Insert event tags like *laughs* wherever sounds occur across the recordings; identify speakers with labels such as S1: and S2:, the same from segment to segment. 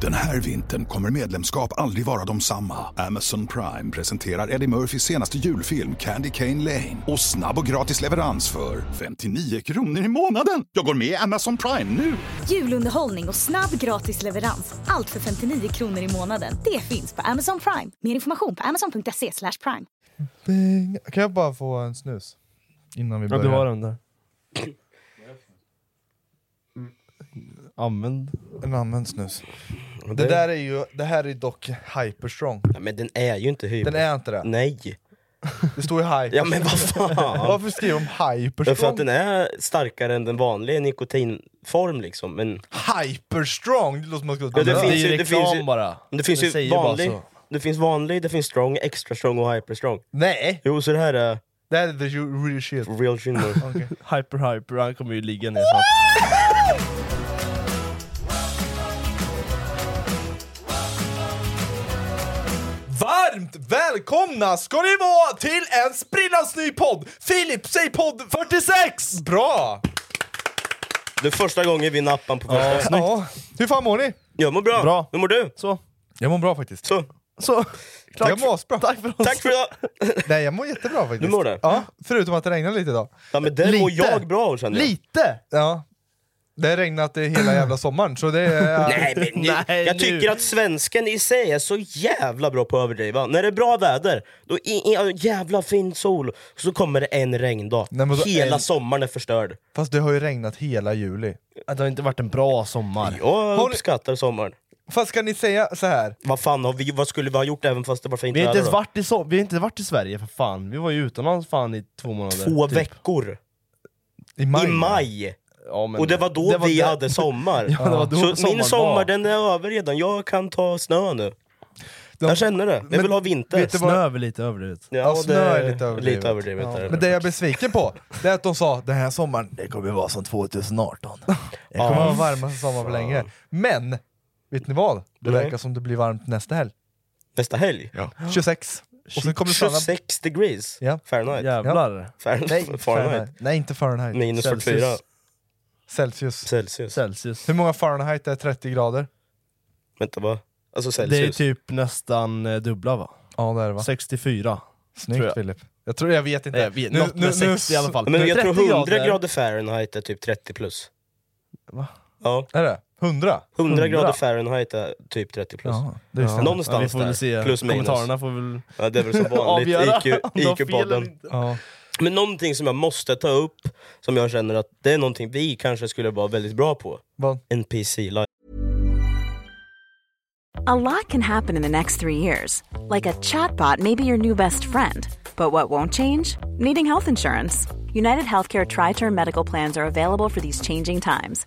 S1: Den här vintern kommer medlemskap aldrig vara de samma. Amazon Prime presenterar Eddie Murphys senaste julfilm Candy Cane Lane. Och snabb och gratis leverans för 59 kronor i månaden. Jag går med i Amazon Prime nu!
S2: Julunderhållning och snabb gratis leverans. Allt för 59 kronor i månaden. Det finns på Amazon Prime. Mer information på amazon.se slash prime.
S3: Bing. Kan jag bara få en snus? Innan vi
S4: Ja,
S3: börjar.
S4: du har den där. Mm. Använd.
S3: En använd snus.
S4: Det,
S3: Det där är ju, det här är dock hyperstrong.
S5: Ja, men den är ju inte hyper.
S3: Den är inte det.
S5: Nej.
S3: Det står ju hyper.
S5: Ja men vad fan.
S3: *laughs* Varför skriver de
S5: För att
S3: hyperstrong?
S5: den är starkare än den vanliga nikotinform liksom. Men
S3: Hyperstrong! Det låter som att man ska
S5: Ja,
S3: ja,
S4: det
S5: det
S4: är
S5: finns
S4: ju
S5: ju- det
S4: reklam
S5: finns ju-
S4: bara.
S5: men det finns
S4: Det
S5: ju
S4: säger
S5: vanlig,
S4: bara så.
S5: det finns vanlig, det finns strong, extra strong och hyper strong.
S3: Nej!
S5: Jo så det här är
S3: Det här är the real shit.
S5: real shinner.
S3: *laughs* Okej.
S4: Hyper hyper, han kommer ju ligga ner snart.
S3: Varmt välkomna ska ni vara till en sprillans ny podd! Filip, säg podd 46! Bra!
S5: Det är första gången vi nappar på första.
S4: Ja, snyggt.
S3: Ja. Hur fan mår ni?
S5: Jag mår bra.
S4: Bra.
S5: Hur mår du?
S4: Så.
S3: Jag mår bra faktiskt.
S5: Så,
S4: Så. Tack,
S3: jag mår asbra.
S4: tack för oss.
S5: tack för idag!
S3: Nej, jag mår jättebra faktiskt.
S5: Du mår det?
S3: Ja, förutom att det regnar lite idag.
S5: Ja men där mår
S3: Lite.
S5: jag bra av, känner jag.
S3: Lite! Ja. Det har regnat eh,
S5: *clears throat*
S3: hela jävla sommaren, så det är...
S5: Nej
S3: *laughs*
S5: men nu,
S4: Nej,
S5: jag
S4: nu.
S5: tycker att svensken i sig är så jävla bra på att överdriva. När det är bra väder, då i, i, jävla fin sol, så kommer det en regndag.
S3: Nej, men då
S5: Hela
S3: en-
S5: sommaren är förstörd.
S3: Fast det har ju regnat hela juli.
S4: Det har inte varit en bra sommar.
S5: Jag
S3: Har ni-
S5: uppskattar sommaren.
S3: Fast ska ni säga så här?
S5: Vad fan har vi, vad skulle vi ha gjort även fast det var fint
S4: Vi har, inte
S5: väder
S4: ens
S5: då?
S4: varit i so- vi har inte varit i Sverige för fan, vi var ju utomlands fan i två månader.
S5: Två
S4: typ.
S5: veckor
S3: I maj?
S5: i maj!
S4: Ja, men
S5: Och det var då
S4: det var
S5: vi
S4: där- *laughs*
S5: hade sommar.
S3: *laughs*
S4: Ja, det var då
S5: så
S4: sommaren
S5: min sommar
S4: var.
S5: den är över redan, jag kan ta snö nu.
S3: De-
S5: Jag känner det, jag
S3: Men
S5: vill ha vinter.
S3: vet du
S4: Snö är väl lite överdrivet.
S5: Ja,
S3: Ja,
S5: det
S3: snö är lite överdrivet.
S5: Lite överdrivet är
S3: Men det jag är besviken på, det är att de sa den här sommaren, det kommer vara som 2018. Det kommer vara varmaste sommaren på länge. Men, vet ni vad? Det
S5: Nej.
S3: verkar som det blir varmt nästa helg.
S5: Nästa helg?
S3: 26. Och sen kommer det stanna...
S5: 26 degrees
S3: Ja.
S5: Fahrenheit.
S4: Jävlar.
S5: Fahrenheit.
S3: Nej,
S5: Fahrenheit.
S3: Fahrenheit. Nej, inte Fahrenheit.
S5: Minus
S3: Celsius.
S5: 44
S3: Celsius.
S5: Celsius.
S4: Celsius.
S3: Hur många Fahrenheit är 30 grader?
S5: Vänta va? Alltså
S4: Det är
S5: Celsius.
S4: typ nästan eh, dubbla va?
S3: Ja det är det va?
S4: 64.
S3: Snyggt
S4: tror jag.
S3: Filip. Jag tror, jag vet inte.
S4: Nej, jag vet, något med 60 i alla fall.
S5: Men jag tror 100 grader.
S4: grader.
S5: Fahrenheit är typ 30 plus.
S4: Va?
S5: Ja,
S3: Är det? 100?
S5: 100,
S4: 100.
S5: grader Fahrenheit är typ 30 plus. Ja.
S3: det är
S4: Ja.
S3: sant.
S5: Någonstans
S4: ja, vi får väl
S5: där.
S4: se.
S5: Plus minus.
S4: Kommentarerna får väl
S5: det
S3: *laughs*
S5: är väl som vanligt,
S4: avgöra
S5: IQ
S4: *laughs* om de har fel eller
S5: IQ-podden.
S4: inte.
S3: Ja.
S5: Men någonting som jag måste ta upp, som jag känner att det är någonting vi kanske skulle vara väldigt bra på.
S3: Vad?
S5: NPC live.
S6: A lot can happen in the next three years. Like a chatbot may be your new best friend. But what won't change? Needing health insurance. United Healthcare Tri Term Medical Plans are available for these changing times.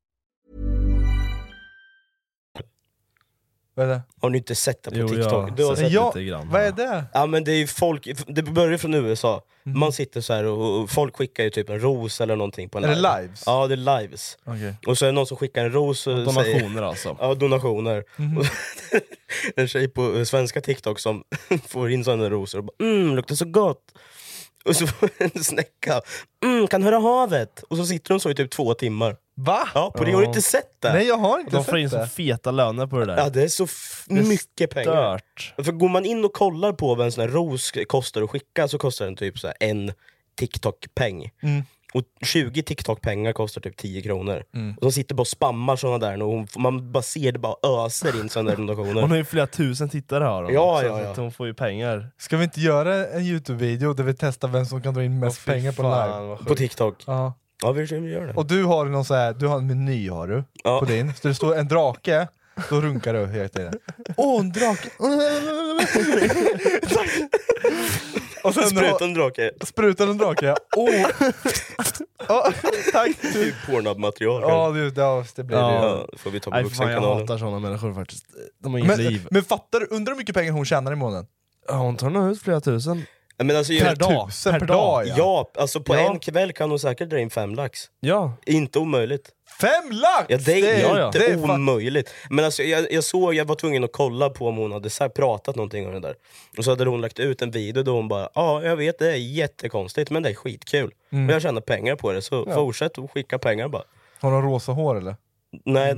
S3: Vad är det?
S5: Har ni inte sett det på
S3: Jo, jag
S5: TikTok?
S3: har
S5: Du har
S3: sett
S5: sett
S3: Ja, lite grann. vad är det?
S5: Ja, men det, är ju folk, det börjar från USA. Man sitter så här och, och folk skickar ju typ en ros eller någonting. På en
S3: Är det
S5: live.
S3: lives?
S5: Ja, det är lives.
S3: Okej.
S5: Och så är det någon som skickar en ros. och
S4: Donationer
S5: säger-
S4: alltså.
S5: Ja, donationer.
S4: Mhm.
S5: Och *laughs* en tjej på eh, svenska TikTok som *laughs* får in sådana rosor och bara mm, luktar så gott. Och så får *laughs* en snäcka, mm, kan höra havet. Och så sitter hon så i typ två timmar.
S3: Va?
S5: Ja, på det. Har du inte sett det?
S4: Nej, jag har
S5: inte
S4: De får
S5: sett
S4: in så
S5: det.
S4: feta löner på det där.
S5: Ja, det är så f-
S4: Det är
S5: mycket pengar.
S4: stört.
S5: För går man in och kollar på vad en sån här ros kostar att skicka så kostar den typ så här en TikTok-peng.
S3: Mm.
S5: Och 20 TikTok-pengar kostar typ 10 kronor.
S3: Mm.
S5: Och de sitter bara och spammar sådana där, och hon, man bara ser det bara öser in sådana där donationer.
S4: Hon har ju flera tusen tittare har hon.
S5: Ja,
S4: också,
S5: ja,
S4: så
S5: ja.
S4: att Hon får ju pengar.
S3: Ska vi inte göra en Youtube-video där vi testar vem som kan dra in mest
S4: fy
S3: pengar på
S4: fan,
S3: live?
S4: vad sjukt.
S5: På TikTok.
S3: Ja.
S5: Ja, vi vi gör det.
S3: Och du har någon så här, du har en meny har du,
S5: Ja.
S3: på din. Så det står en drake, då runkar du hela tiden. Åh, en drake! *laughs* och sen har-
S5: Sprutan drake.
S3: Sprutar en drake, ja. Åh! Ja, tack!
S5: Det är ju Pornhub-material.
S3: Ja, det, ja, det blir det.
S5: Ja, det får vi ta på
S4: Nej, för fan, jag
S5: vuxenkanalen.
S4: hatar såna människor faktiskt. De har inget
S3: Men,
S4: liv.
S3: men fattar du, undrar hur mycket pengar hon tjänar i månaden?
S4: Ja, Hon tar nog ut flera tusen.
S5: Ja, Men alltså,
S4: Per
S5: jag,
S4: dag.
S3: Tusen
S4: Per
S3: per, dag, ja.
S5: ja, alltså på
S4: Ja.
S5: en kväll kan hon säkert dra in fem lax.
S4: Ja.
S5: Inte omöjligt.
S3: Fem lax!
S5: Ja, det är
S4: ja, ja.
S5: inte
S3: det är fan-
S5: omöjligt. Men alltså, jag, jag såg, jag var tvungen att kolla på om hon hade sagt, pratat någonting om det där. Och så hade hon lagt ut en video där hon bara ja, jag vet det är jättekonstigt men det är skitkul. Och jag tjänar pengar på det så fortsätt att skicka pengar bara.
S3: Har hon rosa hår eller?
S5: Nej,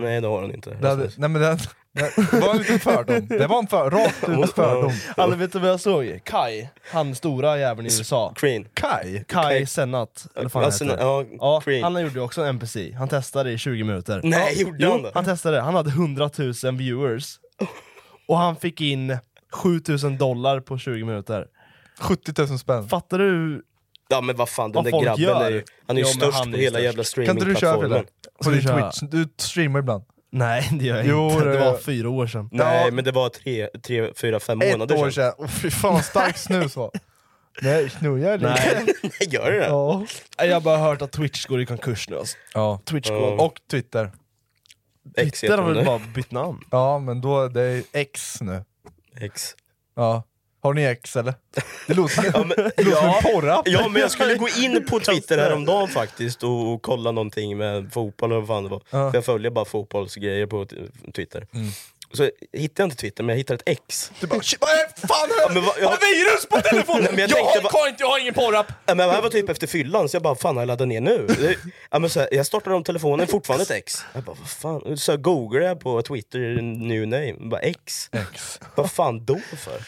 S5: nej det har hon inte.
S3: Det, hade, nej, men det, det var en liten fördom. Det var en för, rakt ut fördom.
S4: Alla vet du vad jag såg? Kai, han stora jäveln i USA.
S5: Green.
S3: Kaj?
S4: Kai
S5: Kai-
S4: Senat, eller vad fan
S5: Alltså,
S4: han heter.
S5: ja,
S4: Ja,
S5: Creed.
S4: han gjorde ju också en NPC, han testade i 20 minuter.
S5: Nej,
S4: ja,
S5: gjorde
S4: jo,
S5: han det?
S4: Han testade, han hade 100 000 viewers. Och han fick in 7 000 dollar på 20 minuter.
S3: 70 000 spänn.
S4: Fattar du?
S5: Ja men vad fan, den
S4: Vad
S5: där
S4: folk
S5: grabben
S4: gör.
S5: är ju, han är ju
S4: Ja, men
S5: störst
S4: han är
S5: på
S4: ju
S5: hela
S4: störst.
S5: jävla
S3: Kan inte du köra
S5: streamingplattformen.
S3: Fille? På din
S4: Ska vi köra?
S3: Twitch? Du streamar ibland.
S4: Nej, det gör jag
S3: Jo,
S4: inte.
S3: det
S4: Det
S3: gör
S4: var
S3: jag.
S4: fyra år sedan.
S5: Nej
S3: Ja.
S5: men det var tre, tre fyra, fem
S3: Ett
S5: månader
S3: år
S5: sedan. *laughs*
S3: sedan. Oh, fy fan vad stark snus var. Nej, snojar lite.
S4: Nej,
S5: Nej, Gör det det?
S3: Ja.
S4: jag har bara hört att Twitch går i konkurs nu alltså.
S3: Ja.
S4: Twitch
S5: Ja.
S4: går...
S3: Och Twitter.
S5: X
S4: Twitter
S5: heter
S4: har
S5: den
S4: väl
S5: där.
S4: bara bytt namn?
S3: Ja, men då, det är X nu.
S5: X.
S3: Ja. Har ni X eller? Det låter som,
S5: *laughs* Ja, men-
S3: det låter som en porrapp.
S5: Ja men jag skulle gå in på Twitter häromdagen faktiskt och, och kolla någonting med fotboll eller vad fan det var.
S3: Ja. Mm.
S5: För jag följer bara fotbollsgrejer på t- Twitter. Så hittade jag inte Twitter men jag hittade ett X.
S3: Du bara, "Shit, vad är fan har jag,
S5: men vad- jag-
S3: har virus på telefonen?
S5: Nej, men jag
S3: jag
S5: tänkte
S3: har
S5: bara-
S3: inte, jag har ingen porrapp!
S5: Ja, men det här var typ efter fyllan så jag bara fan har jag laddat ner nu? Det- Ja, men så här, jag startade om telefonen, fortfarande ett X. Jag bara vad fan? Så jag googlade jag på Twitter, new name, bara X.
S3: X.
S5: Vad fan då för?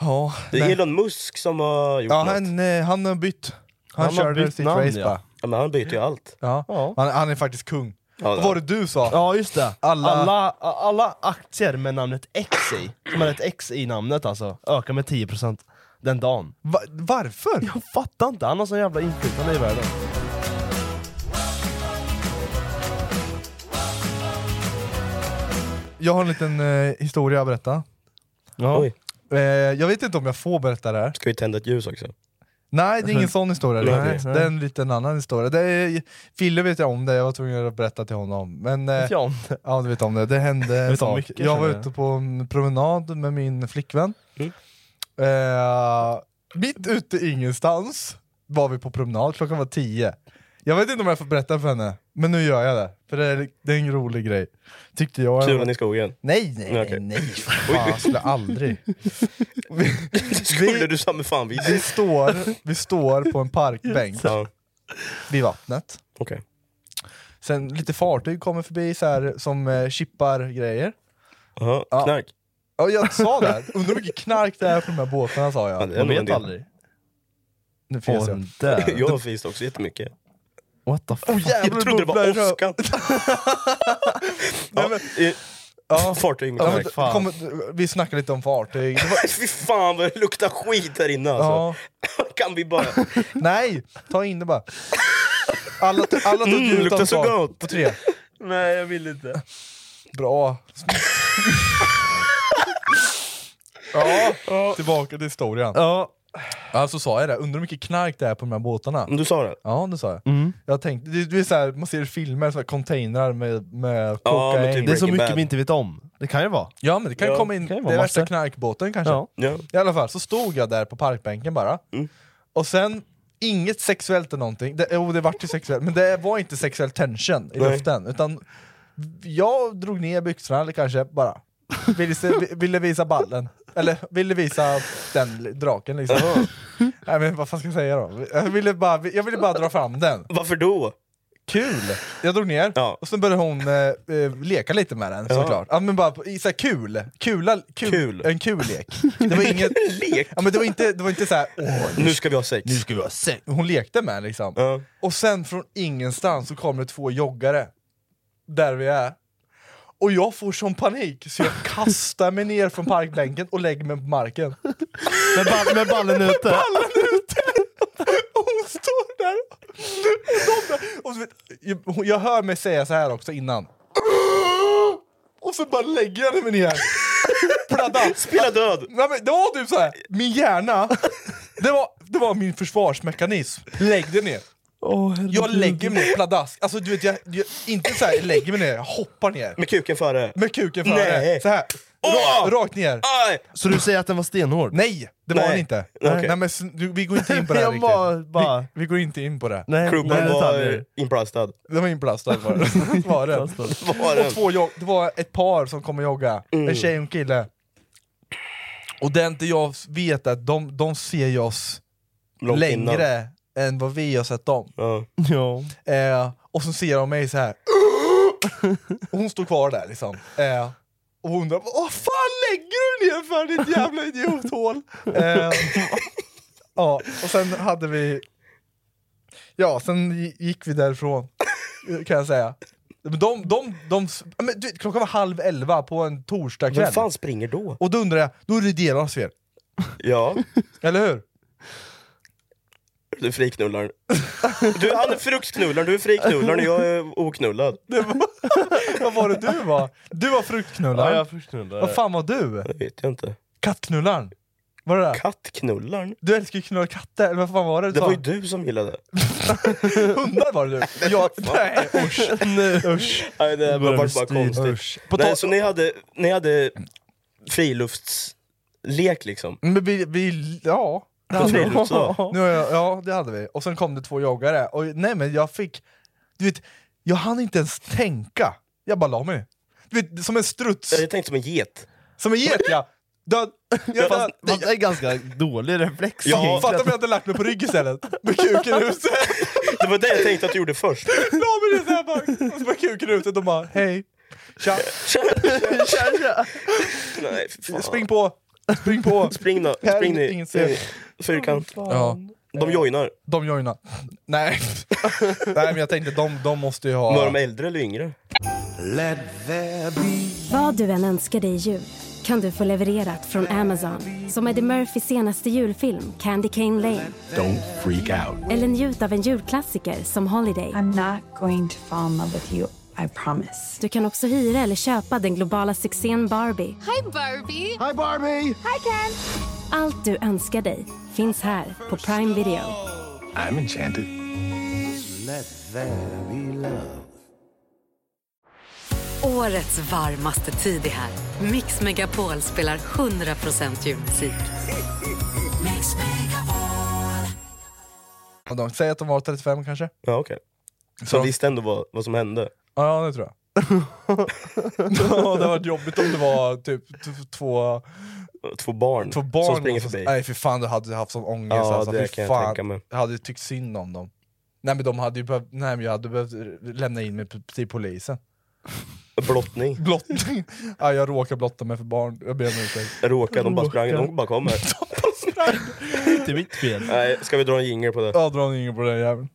S3: Ja,
S5: Det är
S3: nej.
S5: Elon Musk som har gjort
S3: ja
S5: något.
S3: han, eh, han har bytt. Han,
S4: Han har
S3: körde
S4: bytt
S3: sitt
S4: namn,
S3: race
S4: ja.
S3: bara.
S5: Ja, men han byter ju allt.
S3: Ja.
S4: Ja.
S3: Han, han är faktiskt kung.
S5: Ja,
S3: Vad var det du sa?
S4: Ja just det,
S3: Alla-
S4: alla, alla, alla aktier med namnet X i, som har ett X i namnet alltså, ökar med 10% den dagen.
S3: Va, varför?
S4: Jag fattar inte, han har sån jävla inflytande i världen.
S3: Jag har en liten eh, historia att berätta.
S4: Ja.
S5: Oj,
S3: Eh, jag vet inte om jag får berätta det här.
S5: ska vi tända ett ljus också?
S3: Nej, det är ingen sån historia.
S5: Nej,
S3: Nej,
S4: nej.
S3: det är en liten annan historia. Det är, Fille vet jag om det, jag var tvungen att berätta till honom. Men, eh,
S4: Vet jag om det.
S3: Ja du vet om det, det hände en
S4: vet om
S3: sak.
S4: mycket,
S3: jag var
S4: känner jag.
S3: ute på en promenad med min flickvän.
S5: Mm.
S3: Eh, mitt ute i ingenstans var vi på promenad, klockan var tio. Jag vet inte om jag får berätta för henne, men nu gör jag det. För det är, det är en rolig grej. Tyckte jag.
S5: Knulan i skogen.
S3: Nej, nej, nej,
S5: Okej. *laughs*
S3: nej. Fan, jag skulle aldrig.
S5: Skulle du samme fan visa?
S3: Vi står, vi står på en parkbänk
S5: Ja,
S3: vid vattnet.
S5: okej.
S3: Sen lite fartyg kommer förbi så här, som eh, chippar grejer.
S5: Jaha,
S3: Ja.
S5: knark.
S3: Ja, jag sa det. Undrar hur mycket knark det är på de här båtarna sa jag.
S5: Ja, det är
S4: Jag
S5: nog en
S4: vet
S5: del.
S4: aldrig.
S3: Nu finns jag.
S5: *laughs*
S4: *laughs*
S5: Jag har fist också jättemycket.
S4: What the fuck?
S5: Jag trodde det var
S3: bubblar i rö- *laughs*
S5: åskan. ja, eh,
S3: Ja.
S5: Fartyg med
S3: Ja, men,
S5: knark.
S3: det-
S4: fan.
S3: kommer- vi snackade lite om fartyg. Det var,
S5: *laughs* Fy fan vad det luktar skit här inne alltså.
S3: ja.
S5: *laughs* Kan vi bara...
S3: *laughs* Nej, ta in det bara. Alla, to- alla tog
S5: Mm,
S3: ut
S5: luktar så
S3: ansvar
S5: gott.
S3: på tre.
S5: Nej jag vill inte.
S3: Bra.
S5: *laughs*
S3: ja, tillbaka till historien.
S4: Ja.
S3: Ja, så sa jag det, undrar hur mycket knark det är på de här båtarna.
S5: Du sa det?
S3: Ja, det sa jag.
S5: Mm.
S3: Jag tänkte, det, det är så här, man ser i filmer, så här containrar med, med
S5: Ja, men
S3: kokain.
S5: typ
S4: Det är så
S5: Breaking
S4: mycket
S5: Bad.
S4: vi inte vet om. Det kan ju vara.
S3: Ja men det kan
S5: Ja,
S3: komma in,
S4: kan ju
S3: det
S4: vara
S3: är
S4: massor.
S3: värsta knarkbåten kanske.
S4: Ja.
S5: Ja. Mm.
S3: I alla fall, så stod jag där på parkbänken bara. Och sen, inget sexuellt eller någonting. Det, jo, det vart ju sexuellt, men det var inte sexuell tension i
S5: Nej.
S3: luften. Utan jag drog ner byxorna eller kanske bara. Ville, se, vi- ville visa ballen. Eller ville visa den draken liksom. Nej men vad fan ska jag säga då? Jag ville bara, jag ville bara dra fram den.
S5: Varför då?
S3: Kul! Jag drog ner,
S5: Ja.
S3: och sen började hon eh, eh, leka lite med den såklart. Ja, men bara på, i, såhär, kul. Kula, kul!
S5: Kul.
S3: En kul lek.
S5: *laughs*
S3: Det var inget...
S5: Lek?
S3: Ja, men det var inte, det var inte såhär åh,
S5: Nu ska vi ha sex.
S3: ska vi ha sex. Hon lekte med liksom.
S5: Ja.
S3: Och sen från ingenstans så kommer det två joggare. Där vi är. Och jag får sån panik så jag kastar mig ner från parkbänken och lägger mig på marken.
S4: Med, ba- med ballen ute.
S3: Och *laughs* hon står där och de där. Och så vet, jag, jag hör mig säga så här också innan. Och så bara lägger jag mig ner. Pladda.
S5: Spela död!
S3: Nej, men det var typ så här. min hjärna, det var, det var min försvarsmekanism. Lägg dig ner. jag lägger mig ner pladask. Alltså du vet, jag, jag inte så här, jag lägger mig ner, jag hoppar ner.
S5: Med kuken före.
S3: Med kuken före.
S5: Nej.
S3: Så här. Ra,
S5: Åh!
S3: Rakt ner.
S5: Aj!
S4: Så du säger att den var stenhård?
S3: Nej, det var
S5: Nej.
S3: han
S4: *laughs*
S3: inte.
S5: Nej, okej.
S3: Nej, men, sn- du, vi går inte in på det här
S4: Jag
S3: riktigt.
S4: bara- bara-
S3: Vi, vi går inte in på det.
S4: Nej,
S5: Krubban
S4: nej,
S5: var
S4: detaljer.
S5: eh, inplastad.
S3: Den var inplastad var den. *laughs* var den.
S5: Var den?
S3: Och två jog- det var ett par som kom och jogga,
S4: Mm.
S3: en tjej och en kille. Och det är inte jag vet att de, de ser oss
S5: Långt innan.
S3: längre än vad vi har sett dem.
S5: Ja.
S4: *laughs* Ja.
S3: Eh, och så ser de mig så här. och hon står kvar där liksom. Eh, och hon undrar vad fan lägger du ner för ditt jävla idiothål? Eh, ja, och sen hade vi... Ja, sen gi- gick vi därifrån, eh, kan jag säga. Men de, de, de, ja, men du, vet, klockan var halv elva på en
S5: Vem
S3: torsdagkväll.
S5: fan springer då?
S3: Och då undrar jag, då är det deras fel,
S5: Ja,
S3: eller hur?
S5: du är friknullaren. Du, han är fruktknullaren, du är friknullaren och jag är oknullad.
S3: Det var, vad var det du var? Du var fruktknullaren. Vad fan var du?
S5: Det vet jag inte.
S3: Kattknullaren? Var det det?
S5: Kattknullaren?
S3: Du älskar ju knulla katter, eller vad fan var det du
S5: Det var
S3: sa?
S5: ju du som gillade.
S3: Hundar var *laughs* det du! Jag, nej usch! usch.
S5: Nej, det var
S4: börjar
S5: bara,
S4: bli
S5: bara
S4: styr.
S5: konstigt.
S3: Usch. På
S5: Nej,
S3: tal-
S5: så ni hade, ni hade friluftslek liksom?
S3: Men vi, vi ja. Det
S5: På
S3: hade vi. *laughs*
S5: friluftsdag?
S3: Nu, har jag- ja, det hade vi. Och sen kom det två joggare, och nej men jag fick... Du vet, jag hann inte ens tänka. Jag bara la mig. Du vet, som en struts,
S5: Jag tänkte som en get.
S3: som en get ja! *laughs* Död! Jag död.
S4: Fast det är ganska dålig reflex
S5: Ja.
S3: Fatta om jag hade lagt mig på rygg istället, med kuken ut såhär.
S5: Det var det jag tänkte att du gjorde först.
S3: *laughs* La mig ner såhär bara, och så med kuken ut och de bara hej, tja, *laughs*
S5: Nej, fy fan.
S3: spring på, spring på!
S5: Spring då,
S3: Här är
S5: spring
S3: ingen
S5: ni.
S3: ser.
S5: Fyrkant.
S3: Ja.
S5: De joinar.
S3: De joinar. *laughs*
S5: *laughs*
S3: Nej. Nej men jag tänkte de, de måste ju
S5: Var
S3: ha...
S5: de äldre eller yngre?
S7: Vad du än önskar dig i jul kan du få levererat från Amazon. Som Eddie Murphys senaste julfilm Candy Cane Lane.
S1: Don't freak out.
S7: Eller njut av en julklassiker som Holiday.
S8: I'm not going to fall in love with you, I promise.
S7: Du kan också hyra eller köpa den globala succén Barbie.
S8: Hi, Barbie.
S7: Allt du önskar dig finns här på Prime Video.
S1: I'm enchanted.
S7: Årets varmaste tid är här. Mix Megapol spelar 100% julmusik.
S3: De, säg att de var 35 kanske?
S5: Ja, okej. Så de visste ändå vad, vad som hände.
S3: Ja det tror
S5: *laughs*
S3: jag. Ja, det hade varit jobbigt om det var typ t- två,
S5: Två barn,
S3: två barn
S5: som springer
S3: och så-
S5: förbi.
S3: Nej för fan du hade haft sån ångest
S5: Ja,
S3: alltså.
S5: det
S3: Fy
S5: kan jag
S3: fan.
S5: tänka mig.
S3: Jag hade ju tyckt synd om dem. Nej men de hade ju behövt, nej men jag hade behövt lämna in mig p- till polisen.
S5: Blottning.
S3: Blottning. *laughs* ja, jag råkar blotta mig för barn, jag ber om ursäkt.
S5: Råkade, de bara sprang, de
S3: *laughs*
S5: bara kommer.
S4: inte mitt fel.
S5: Nej, ska vi dra en jingel på det?
S3: Ja, dra ingen på den jäveln.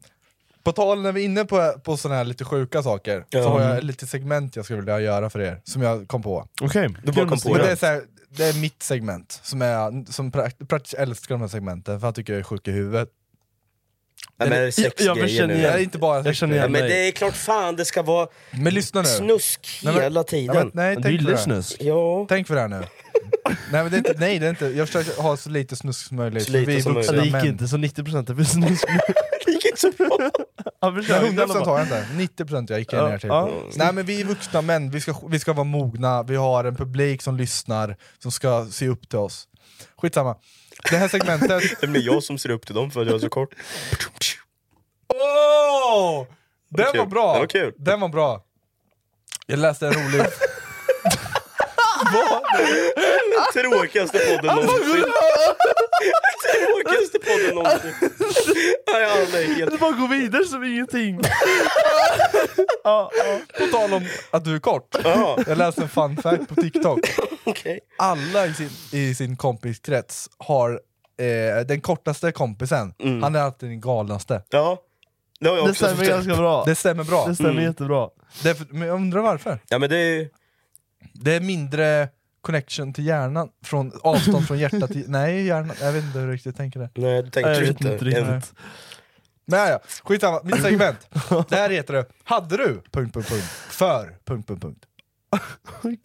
S3: På tal när vi är inne på, på såna här lite sjuka saker, så
S5: Ja.
S3: har jag ett litet segment jag skulle vilja göra för er, som jag kom på.
S4: Okej,
S5: Du bara kom på
S3: Men det, är
S5: det.
S3: så här, det är mitt segment, som är, som prakt- praktiskt älskar de här segmenten, för han tycker jag är sjuk i huvudet.
S5: Nej, men är det
S4: Jag- jag
S5: sexgrejer
S4: känner
S5: nu?
S3: Det är
S4: igen-
S3: inte bara
S4: Jag känner
S5: Ja,
S4: igen
S5: men
S4: dig.
S5: det är klart fan det ska vara
S3: Men lyssna nu.
S5: snusk
S3: Nej, men-
S5: hela
S3: Ja, men,
S5: tiden.
S3: nej,
S4: Du
S3: tänk för,
S4: gillar
S3: det här.
S4: snus.
S3: *laughs*
S5: Ja,
S3: tänk för det här nu. nej, men det är inte, nej, det är inte. Jag försöker ha så lite snusk som möjligt.
S5: Så
S3: för
S5: lite
S3: vi är
S5: som
S3: vuxna
S5: möjligt.
S4: Det gick
S3: män.
S4: inte, så 90% är för snus.
S5: det gick gick så bra.
S4: Han
S3: Nej,
S4: försökte
S3: 100
S4: i alla
S3: procent
S4: fall.
S3: har jag inte. 90 procent jag gick
S4: Ja,
S3: ner till.
S4: ja.
S3: Nej men vi är vuxna män, vi ska, vi ska vara mogna, vi har en publik som lyssnar, som ska se upp till oss. Skitsamma. Det här segmentet...
S5: Det blir jag som ser upp till dem för att jag är så kort.
S3: *laughs* Åh! Den
S5: kul.
S3: var bra!
S5: Den var kul.
S3: Den var bra. Jag läste en rolig...
S5: Tråkigaste podden
S3: Alltså, *laughs*
S5: någonsin. Tråkigaste podden någonsin. Nej, aldrig.
S4: Det
S5: Helt...
S4: bara gå vidare som *laughs* ingenting.
S3: *laughs* på tal om att du är kort.
S5: Ja,
S3: Jag läste en fun fact på TikTok.
S5: okej.
S3: alla i sin, i sin kompiskrets har eh, den kortaste kompisen, han är alltid den galnaste.
S5: Ja. Det har jag
S4: Det
S5: också
S4: stämmer
S5: förstått.
S4: ganska bra.
S3: Det stämmer bra.
S4: Det stämmer jättebra.
S3: Därför, men jag undrar varför?
S5: Ja, men det är...
S3: Det är mindre connection till hjärnan, från, avstånd från hjärta *laughs* till... Nej, hjärnan, jag vet inte hur riktigt jag tänker det.
S5: Nej, det
S4: Jag
S5: tänkte du
S4: vet
S5: inte.
S4: inte riktigt.
S3: Nej, ja, skitsamma, mitt *laughs* segment. det här heter det Hade du... Punkt, punkt, punkt, för... Punkt, punkt, punkt.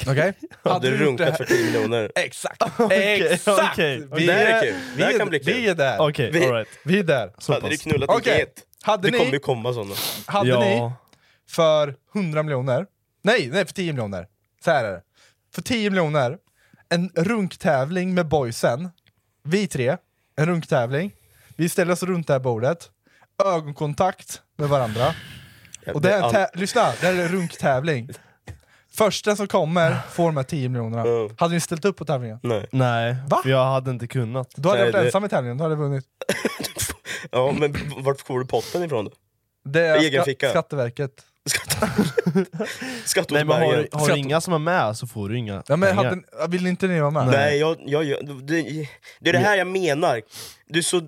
S3: Okej?
S5: Hade du
S3: gjort det
S5: runkat
S3: här-
S5: för 10 miljoner?
S3: *laughs* Exakt! Exakt!
S4: okej.
S3: Vi
S5: Det här är
S3: är-
S5: kul.
S3: vi
S5: Det här
S3: är-
S5: kan bli kul.
S3: Vi är där.
S4: Okej,
S5: Vi-
S4: alright.
S3: Vi är där. Så
S5: Hade
S3: pass.
S5: du knullat
S3: Okej.
S5: en get?
S3: Hade
S5: Det kommer
S3: ni,
S5: ju komma sådana.
S3: hade ni
S4: Ja.
S3: för 100 miljoner, nej, nej för 10 miljoner, så här är det. För 10 miljoner, en runktävling med boysen, vi tre, en runktävling, vi ställer oss runt det här bordet, ögonkontakt med varandra, och det här är en tä- lyssna, det här är en runktävling. Första som kommer får de här 10 miljonerna.
S5: Mm.
S3: Hade ni ställt upp på tävlingen?
S5: Nej. *laughs*
S4: Nej,
S3: Va?
S4: för jag hade inte kunnat.
S3: Då hade
S5: Nej,
S3: jag varit
S5: det-
S3: ensam i tävlingen, då hade jag vunnit.
S5: Ja, men vart får du potten ifrån då?
S3: Det är
S5: Egen
S3: ska-
S5: ficka.
S3: Skatteverket.
S4: Nej, men har,
S5: Skatteåterbäringen.
S4: har du inga som är med så får du inga
S3: Ja, men
S4: pengar.
S3: hade, vill inte ni vara med?
S5: Nej, jag, jag, jag, det, det är det här jag menar. Du är så...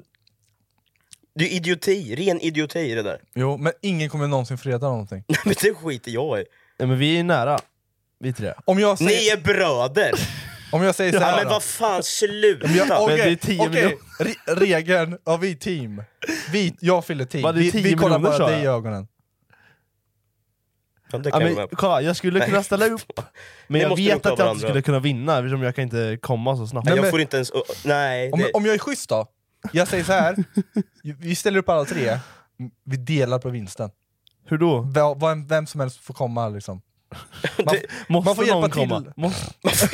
S5: Det är idioti, ren idioti i det där. *laughs*
S3: Jo, men ingen kommer någonsin freda någonting.
S5: Nej, men det skiter jag i.
S4: Nej, men vi är ju nära, vi tre.
S3: Om jag säger,
S5: Ni är
S4: *laughs*
S5: bröder!
S3: om jag säger så
S5: Ja,
S3: här
S5: men
S3: då.
S5: vad fan, sluta!
S3: Om jag-
S4: Men det
S3: Okej,
S4: är 10
S3: okej. Re- regeln, ja vi är team. Vi, jag fyller team.
S4: Vad, det är
S3: Vi,
S4: 10
S3: vi kollar
S4: miljoner,
S3: bara
S4: sa
S3: dig i
S4: jag?
S3: ögonen.
S5: Ja, det
S4: Ja,
S5: kan jag
S4: men,
S5: vara med på.
S4: kolla, jag skulle kunna ställa upp, men
S5: Ni
S4: jag
S5: måste
S4: vet
S5: runka
S4: att jag inte
S5: varandra.
S4: skulle kunna vinna eftersom jag kan inte komma så snabbt.
S5: Nej, jag
S3: men-
S5: får inte ens... Nej,
S3: Om,
S5: det,
S3: om jag är schysst då? Jag säger så
S4: *laughs*
S3: här. vi ställer upp alla tre, vi delar på vinsten.
S4: Hur då?
S3: Vem, vem- vem som helst får komma liksom.
S4: Måste
S3: man får hjälpa
S4: någon
S3: till.
S4: komma? Måste...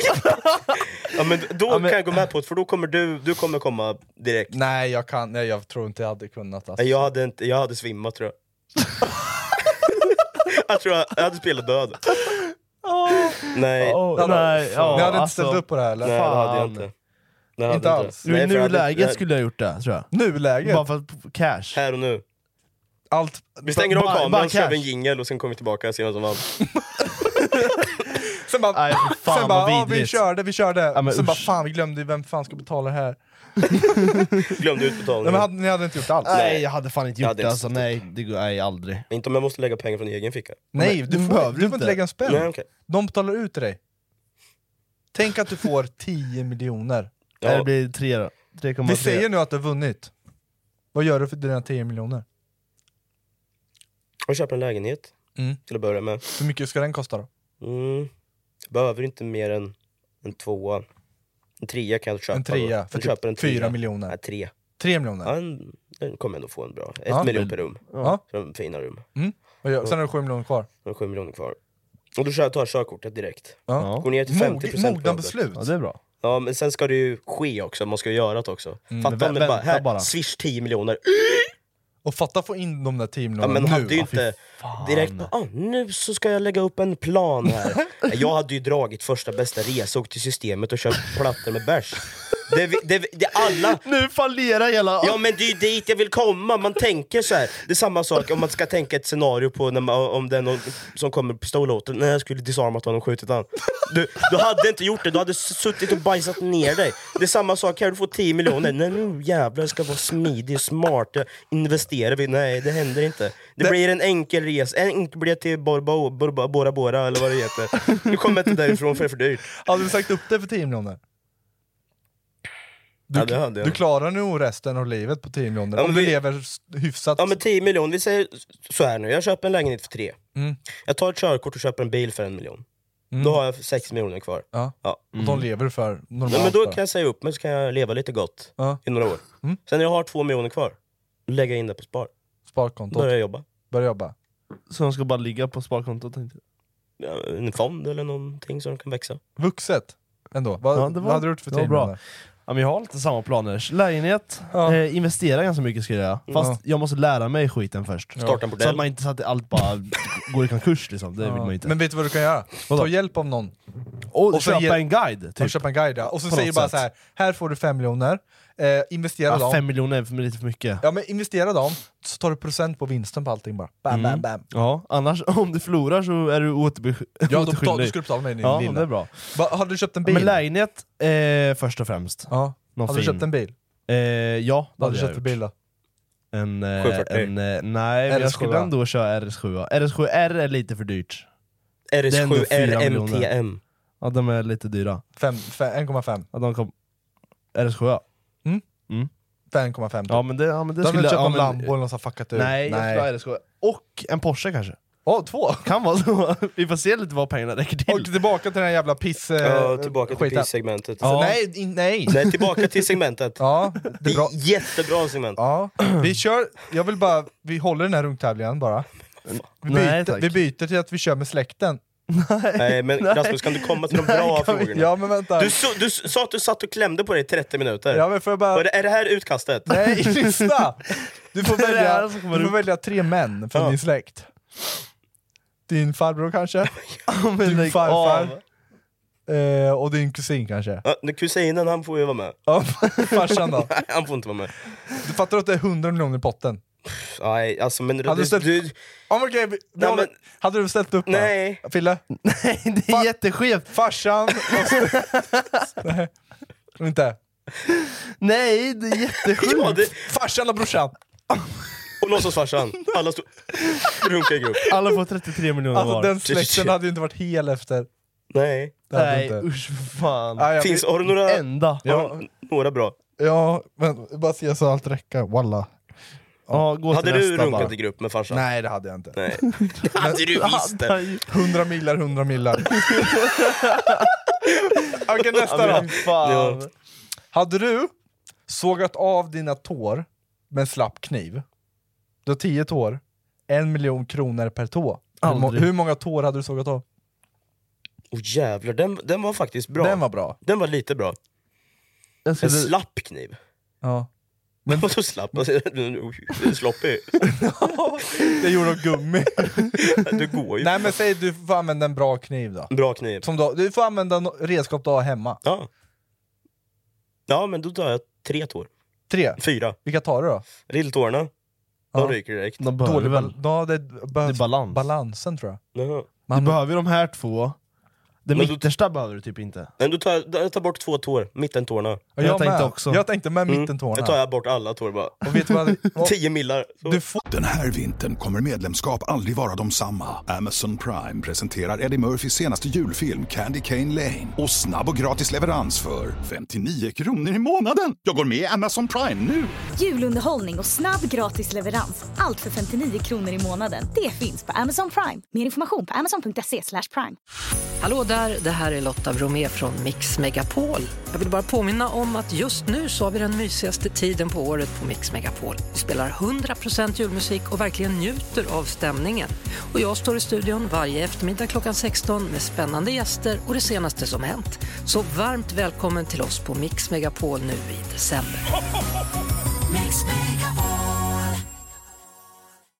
S5: ja, men då
S4: Ja, men-
S5: kan jag gå med på det, för då kommer du, du kommer komma direkt.
S3: Nej jag kan, nej, jag tror inte jag hade kunnat. Alltså.
S5: Nej, Jag hade, inte, jag hade svimmat tror jag.
S4: *laughs*
S5: jag tror jag, jag hade spelat död. Nej,
S4: Åh, nej, ja,
S3: Eh, Ni hade inte
S4: alltså,
S3: ställt upp på det här eller?
S5: nej det hade jag
S4: fan.
S5: inte. Det hade
S3: Inte
S5: jag
S3: alls.
S4: Nu I
S5: för jag hade-
S4: nuläget
S5: nej,
S4: skulle jag gjort det, tror jag.
S3: Nuläget,
S4: Bara för att- cash.
S5: Här och nu.
S3: allt...
S5: Vi stänger av
S4: Bara- bara
S5: kameran, kör
S4: cash.
S5: vi en jingel och sen kommer vi tillbaka och ser vem som vann.
S4: *laughs*
S3: Sen bara,
S4: Nej, fy fan
S3: sen
S4: vad
S3: bara ja, vi
S4: vidrigt.
S3: körde, vi körde.
S4: men
S3: sen bara
S4: usch.
S3: fan vi glömde vem fan ska betala det här.
S5: Glömde
S3: Nej, men
S5: utbetalningen.
S3: hade, ni hade inte gjort allt?
S4: Nej, jag hade fan inte
S5: Jag
S4: gjort
S5: hade
S4: det
S5: inte
S4: alltså, nej, det går, nej aldrig.
S5: Inte om jag måste lägga pengar från egen ficka.
S3: Nej, du
S4: det
S3: får,
S4: behöver
S3: du
S4: du
S3: får inte
S4: inte.
S3: lägga en spänn.
S5: Nej, okej.
S3: De betalar ut till dig. Tänk att du får *laughs* 10 miljoner.
S4: Eller
S5: Ja,
S4: Det blir tre då. 3,3.
S3: Vi säger nu att du har vunnit. Vad gör du för dina 10 miljoner?
S5: jag köper en lägenhet
S3: Mm.
S5: till att börja med.
S3: Hur mycket ska den kosta då?
S5: Mm. Behöver inte mer än en tvåa. En trea kan jag köpa.
S3: En trea
S5: då.
S3: för
S5: Jag köper en
S3: typ 4
S5: trea.
S3: miljoner.
S5: Nej, tre.
S3: 3 miljoner.
S5: Ja, en, den kommer jag ändå få en bra. Ett
S3: Ja.
S5: miljon per rum.
S3: Ja.
S5: För de fina rum.
S3: Mm. Vad gör- Sen har du 7 miljoner kvar.
S5: Då har jag sju miljoner kvar. Och då kör jag- tar jag körkortet direkt.
S3: Ja.
S5: Går ner till 50
S3: Mog-
S5: procent.
S3: Mogna beslut.
S4: Ja, det är bra.
S5: Ja, men sen ska det ju ske också. Man ska ju göra det också.
S3: Mm.
S5: Fatta
S4: vä-
S5: om det bara,
S4: vänta
S5: här,
S4: bara.
S5: swish 10 miljoner.
S3: Och fatta få in de där 10
S5: Ja,
S3: miljonerna
S5: men hade ju
S3: nu.
S5: inte
S4: fan.
S5: direkt bara, ah, nu så ska jag lägga upp en plan här.
S3: *laughs*
S5: jag hade ju dragit första bästa resa, åkt till systemet och köpt plattor med bärs. Det, vi- det, vi- det alla...
S4: Nu fallerar hela...
S5: Ja men det är ju dit jag vill komma, man tänker så här. Det är samma sak om man ska tänka ett scenario på när man, om det är någon som kommer med pistol åt en. Nej jag skulle disarmat honom och skjutit han. Du, du hade inte gjort det, du hade s- suttit och bajsat ner dig. Det är samma sak här, du får 10 miljoner. Nej nu jävlar, jag ska vara smidig och smart. Jag investerar vi? Nej det händer inte. Det, blir en enkel res, en enkel biljett till Borba, Borba, Bora Bora eller vad det heter. Du kommer inte därifrån för det är för dyrt.
S3: Hade du sagt upp det för 10 miljoner? Du,
S5: Ja, det hade jag.
S3: du klarar nog resten av livet på 10 miljoner.
S5: Ja,
S3: om
S5: men
S3: du
S5: vi-
S3: lever s- hyfsat.
S5: Ja men 10 miljoner, vi säger så här nu, jag köper en lägenhet för tre.
S3: Mm.
S5: Jag tar ett körkort och köper en bil för en miljon.
S3: Mm.
S5: Då har jag 6 miljoner kvar.
S3: Ja. Mm.
S5: Ja.
S3: Och de lever för normalt.
S5: Nej, men då
S3: bara.
S5: kan jag säga upp mig så kan jag leva lite gott
S3: Ja.
S5: i några år.
S3: Mm.
S5: Sen när jag har 2 miljoner kvar, lägger jag in det på spar.
S3: sparkontot.
S5: Börja jobba.
S3: Börja jobba.
S4: Så de ska bara ligga på sparkontot tänkte jag.
S5: Ja, En fond eller någonting så de kan växa.
S3: Vuxet ändå. Vad,
S4: Ja, det var-
S3: vad hade du gjort för
S4: det var
S3: tid?
S4: bra.
S3: med det?
S4: Ja, men jag har lite samma planer. Lägenhet,
S3: Ja. Mm.
S4: eh, investera ganska mycket skulle jag göra. Fast jag måste lära mig skiten först.
S5: Starta en
S4: Så att
S5: bordell.
S4: man inte så att allt bara går i konkurs liksom, det vill man ju inte.
S3: Men vet du vad du kan göra? Ta hjälp av någon.
S4: och,
S3: och så
S4: köpa
S3: ge-
S4: en guide!
S3: Typ.
S4: Typ.
S3: Köpa en guide. ja. Och så
S4: På
S3: säger du
S4: något
S3: bara
S4: sätt.
S3: så här. här får du 5 miljoner, eh, investera
S4: Ja,
S3: dem.
S4: fem miljoner är för mig lite för mycket.
S3: Ja men investera dem, så tar du procent på vinsten på allting bara. Bam, bam,
S4: Mm.
S3: bam.
S4: Ja, annars *laughs* om du förlorar så är du återbe-
S3: Ja, då betal, du
S4: återskyldig.
S3: skulle betala mig din
S4: Ja,
S3: lilla.
S4: det är bra.
S3: Va, har du köpt en
S4: Ja,
S3: bil?
S4: men lägenhet, eh, först och främst.
S3: ja.
S4: Någon
S3: Har du
S4: fin.
S3: köpt en bil?
S4: Eh, ja, det
S3: Vad har
S4: hade
S3: du
S4: jag
S3: köpt för
S4: gjort.
S3: bil då?
S4: En, eh,
S5: 740.
S4: en, eh, nej, men jag
S3: RS7.
S4: skulle ändå köra RS7. RS7R är lite för dyrt. är ändå
S5: RS7
S4: fyra
S5: RMTM.
S4: Ja, de är lite dyra.
S3: Fem- fe- 1,5.
S4: Ja, de kom... RS7 ja.
S3: 5,5 typ.
S4: Ja men det, ja, men det
S3: Då hade
S4: skulle...
S3: du köpt
S4: ja,
S3: en
S4: men-
S3: Lambo eller något som fuckat ur.
S4: typ. Nej, jag skulle ha RS7. Och en Porsche kanske.
S3: Åh, två!
S4: Kan vara så. *laughs* Vi får se lite vad pengarna räcker till.
S3: Och tillbaka till den här jävla piss... eh,
S5: Ja, tillbaka till
S3: skiten.
S5: prissegmentet.
S3: Så Nej, in, nej!
S5: Nej, tillbaka till segmentet.
S3: Ja, det är bra.
S5: Jättebra segment.
S3: Ja. Vi kör, jag vill bara, vi håller den här rungtävlingen bara. Vi byter,
S4: Nej, tack.
S3: vi byter till att vi kör med släkten. *laughs*
S5: Nej, men Rasmus, kan du komma till de bra frågorna?
S3: Ja men vänta.
S5: Du, så, du s- sa att du satt och klämde på dig i 30 minuter.
S3: Ja, men får jag bara...
S5: Var det, är det här utkastet?
S3: Nej, lyssna! Du får
S4: Det är det
S3: välja,
S4: här som kommer
S3: du får
S4: upp.
S3: välja tre män från
S5: Ja.
S3: din släkt. Din farbror kanske,
S4: Men
S3: din
S4: lägg
S3: farfar
S4: av.
S3: eh, och din kusin kanske.
S5: *laughs* Ja, nu, kusinen, han får ju vara med.
S3: Ja, farsan då?
S5: Nej, *laughs* han får inte vara med.
S3: Du fattar att det är 100 miljoner i potten?
S5: Nej, alltså men...
S3: Hade du
S5: du,
S3: ställt-
S5: du,
S3: Oh, okay, vi, vi
S5: Nej,
S3: håller-
S5: men-
S3: Hade du ställt upp då?
S5: Nej.
S3: Fille?
S4: *laughs* Nej, det är jätteskevt.
S3: Farsan och-
S4: *laughs*
S3: Nej, Inte?
S4: Nej, det är jätteskevt. *laughs*
S5: ja,
S3: *laughs*
S5: det,
S3: Farsan och brorsan!
S5: och låtsasfarsan. Alla stod... Runka i grupp.
S4: Alla får 33 miljoner
S3: Alltså
S4: var.
S3: den släkten hade ju inte varit hel efter.
S5: Nej.
S3: Det hade
S4: Nej
S3: inte.
S4: usch för fan.
S3: Ah, ja,
S5: Finns,
S3: vi,
S5: har du några,
S4: Enda. Ja,
S5: har du några bra?
S3: ja, men bara se så allt räcker. Walla.
S4: gå
S5: Hade
S4: till
S5: du
S4: nästa
S5: runkat
S4: bara.
S5: i grupp med farsan?
S3: Nej det hade jag inte.
S5: Nej. Hade du visst det?
S3: 100 millar, 100
S4: *laughs*
S3: millar. Okej, nästa då.
S4: Fan.
S5: Ja.
S3: Hade du sågat av dina tår med en slapp kniv, du har 10 tår, en miljon kronor per tå. Hur, må-
S4: Aldrig.
S3: hur många tår hade du sågat av?
S5: Åh jävlar, den, den var faktiskt bra.
S3: Den var bra.
S5: Den var lite bra.
S4: Jag
S5: En
S4: skulle-
S5: slapp kniv.
S3: Ja.
S5: Men... *laughs* Vadå slapp? Alltså, du är sloppy.
S3: Det gjorde av gummi.
S5: *laughs*
S3: *laughs*
S5: Du går ju.
S3: Nej men säg du får använda en bra kniv då.
S5: Bra kniv.
S3: Som du, du får använda no- redskap du har hemma.
S5: Ja. Ja, men då tar jag tre tår.
S3: Tre.
S5: Fyra.
S3: Vilka tar du då?
S5: Lilltårna. De
S3: Ja.
S5: ryker direkt.
S4: De behöver
S3: Dålig
S4: väl...
S3: bal- ja, det behövs
S4: Det är balans.
S3: balansen tror jag.
S5: Jaha.
S4: Du behöver ju de här två. Den
S5: Men då-
S4: mittersta behöver du typ *laughs* inte.
S5: Nej, du tar, jag tar bort två tår, mittentårna. Mm.
S3: Ja,
S4: Jag tänkte
S3: med.
S4: också.
S3: Jag tänkte med mitten tårna.
S5: Då Mm. tar jag bort alla tår bara.
S3: Och vet du
S4: *laughs*
S3: vad? Och-
S5: Tio millar. Så.
S3: Du får...
S1: Den här vintern kommer medlemskap aldrig vara de samma. Amazon Prime presenterar Eddie Murphys senaste julfilm Candy Cane Lane. Och snabb och gratis leverans för 59 kronor i månaden. Jag går med i Amazon Prime nu!
S2: Julunderhållning och snabb gratis leverans. Allt för 59 kronor i månaden. Det finns på Amazon Prime. Mer information på amazon.se slash prime.
S9: Hallå där, det här är Lotta Bromé från Mix Megapol. Jag vill bara påminna om att just nu så har vi den mysigaste tiden på året på Mix Megapol. Vi spelar 100% julmusik och verkligen njuter av stämningen. Och jag står i studion varje eftermiddag klockan 16 med spännande gäster och det senaste som hänt. Så varmt välkommen till oss på Mix Megapol nu i december.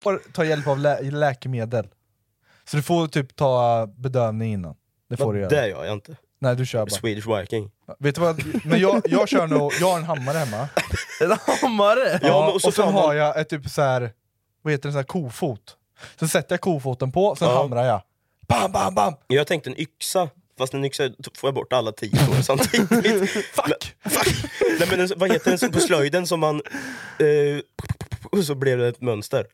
S3: får ta hjälp av lä läkemedel. Så du får typ ta bedövning innan. Det får du göra.
S5: Det gör jag inte.
S3: Nej du kör bara.
S5: Swedish Viking.
S3: Vet du vad? Men jag, jag kör nog, jag har en hammare hemma.
S4: En hammare!
S5: *laughs* Ja, men-
S3: och
S5: och
S3: så
S5: så tar man-
S3: har jag ett typ så här, vad heter det, så här kofot. Sen sätter jag kofoten på, sen
S5: Ja.
S3: hamrar jag. Bam, bam, bam!
S5: Jag tänkte en yxa, fast en yxa t- får jag bort alla tio tår samtidigt.
S3: Fuck!
S5: Fuck! Nej, men en, vad heter den som- på slöjden som man... Eh, och så blev det ett mönster.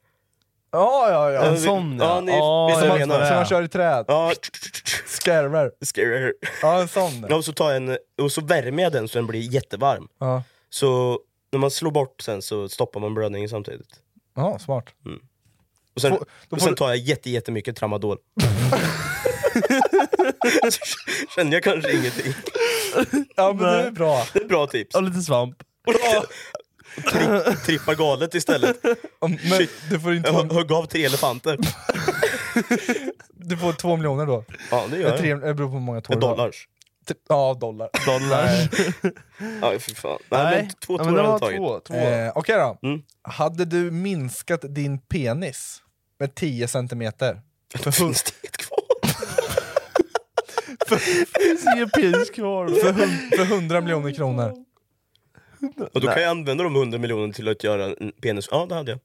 S3: Ja, ja, ja.
S5: Ja,
S4: En sån
S5: ja,
S4: ja.
S5: ni-
S4: Ja,
S5: visst
S3: Som
S4: jag
S5: har ni
S4: vet
S3: man,
S5: menar.
S4: vad det
S3: som man
S4: är.
S3: kör i träd.
S5: Ja,
S3: Skärvar.
S5: scary.
S3: Ja, en sån.
S5: Ja, och, så tar jag en, och så värmer jag den så den blir jättevarm.
S3: Ja,
S5: Så när man slår bort sen så stoppar man blödningen samtidigt.
S3: ja smart.
S5: Och sen,
S3: Får- då
S5: och
S3: får
S5: sen
S3: du-
S5: tar jag jätte,
S3: *laughs*
S5: jättemycket tramadol. Känner jag kanske ingenting.
S3: Ja, men det är bra.
S5: Det är bra tips.
S4: Och lite svamp.
S5: Och lite- tri trippar galet istället.
S3: Men du får inte...
S5: Jag högg av tre elefanter.
S3: Du får två miljoner då.
S5: Ja, det gör
S3: Eh,
S5: jag.
S3: tre, det beror på hur många tår du har.
S5: Dollars.
S3: T- Ja, dollar.
S5: Dollar. Ja, fy fan. Nej, men *laughs* två Mm. tår har jag tagit.
S3: Eh, Okej då. Hade du minskat din penis med 10 centimeter? För
S5: finns det ett
S3: kvar? finns ingen penis kvar. För, hun- för 100 miljoner kronor.
S5: Och då
S3: Nej.
S5: kan jag använda de 100 miljonerna till att göra en penis. Ja, det hade jag.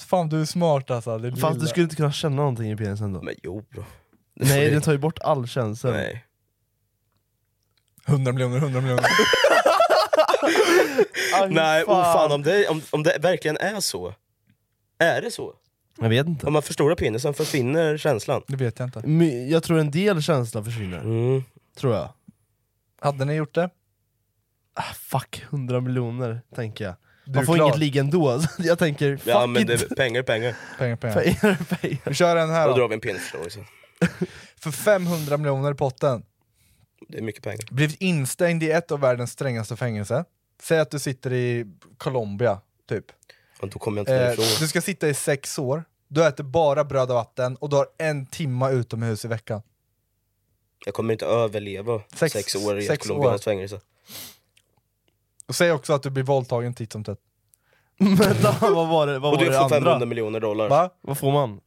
S3: Fan du är smart alltså. Det
S4: Fast du skulle inte kunna känna någonting i penisen då?
S5: Men jo bro. *laughs*
S4: Nej, den tar ju bort all känsla.
S5: Nej.
S3: 100 miljoner, 100 miljoner.
S5: Nej,
S4: fan.
S5: oh, fan om det, om, om det verkligen är så. Är det så?
S4: Jag vet inte.
S5: Om man förstorar penisen försvinner känslan. Mm.
S3: Det vet jag inte.
S4: My- Jag tror en del känsla försvinner. Tror jag.
S3: Hade ni gjort det?
S4: Ah, fuck, 100 miljoner tänker jag.
S3: Du är
S4: Man får
S3: klar.
S4: inget ligg ändå, *laughs* så jag tänker fuck
S5: Ja men
S4: *laughs*
S5: det,
S4: it.
S5: är pengar är pengar.
S3: Pengar, pengar.
S4: Pengar,
S3: Vi kör den här
S5: Då drar
S3: då.
S5: vi en penisförståelse. sen.
S3: För 500 miljoner i potten.
S5: Det är mycket pengar.
S3: Blivit instängd i ett av världens strängaste fängelser. Säg att du sitter i Colombia, typ.
S5: Och då kommer jag inte
S3: Eh,
S5: därifrån.
S3: du ska sitta i sex år, du äter bara bröd och vatten och du har en timma utomhus i veckan.
S5: Jag kommer inte överleva
S3: Sex-
S5: sex, år i ett
S3: sex år.
S5: colombianskt fängelse.
S3: Och säg också att du blir våldtagen titt som tätt.
S4: Vänta, vad var det, vad
S5: Och
S4: var
S5: du
S4: det
S5: får 500
S4: andra?
S5: miljoner dollar.
S3: Va?
S4: Vad får man?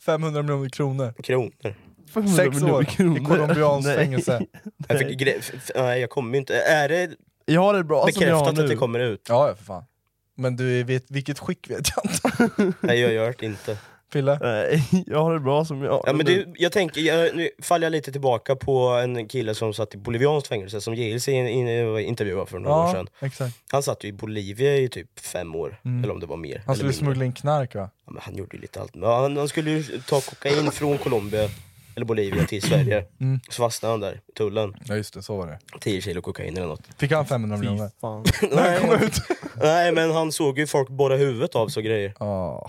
S3: 500 miljoner kronor.
S5: Kronor.
S4: 500
S3: Sex
S4: miljoner
S3: år
S4: kronor.
S3: i colombianskt
S4: Nej.
S3: fängelse.
S5: Jag fick gre- f- f- nej jag kommer ju inte. Är det
S4: Jag har det bra som jag har
S5: bekräftat
S4: nu.
S5: att det kommer ut?
S3: Ja, ja för fan. Men du är- vet, vilket skick vet jag inte. *laughs*
S5: Nej jag gör det inte.
S3: Pille?
S4: Nej, *laughs* jag har det bra som jag har
S5: Ja, men
S4: nu.
S5: det, jag tänker, jag, nu faller jag lite tillbaka på en kille som satt i bolivianskt fängelse som JLC in, in, intervjuade för några år
S3: Ja,
S5: sedan.
S3: exakt.
S5: Han satt ju i Bolivia i typ fem år, eller om det var mer.
S3: Mm. Han
S5: eller
S3: skulle
S5: mindre.
S3: smuggla in knark va?
S5: Ja, men han gjorde ju lite allt. Men han, han skulle ju ta kokain från Colombia, eller Bolivia,
S3: *clears throat*
S5: till Sverige.
S3: Mm.
S5: Så fastnade han där, i tullen.
S3: Ja just det, så var det.
S5: 10 kilo kokain eller något.
S3: Fick han 500 miljoner?
S4: Fan.
S5: Nej, han, *laughs* nej, men han såg ju folk borra huvudet av så grejer.
S3: Ja.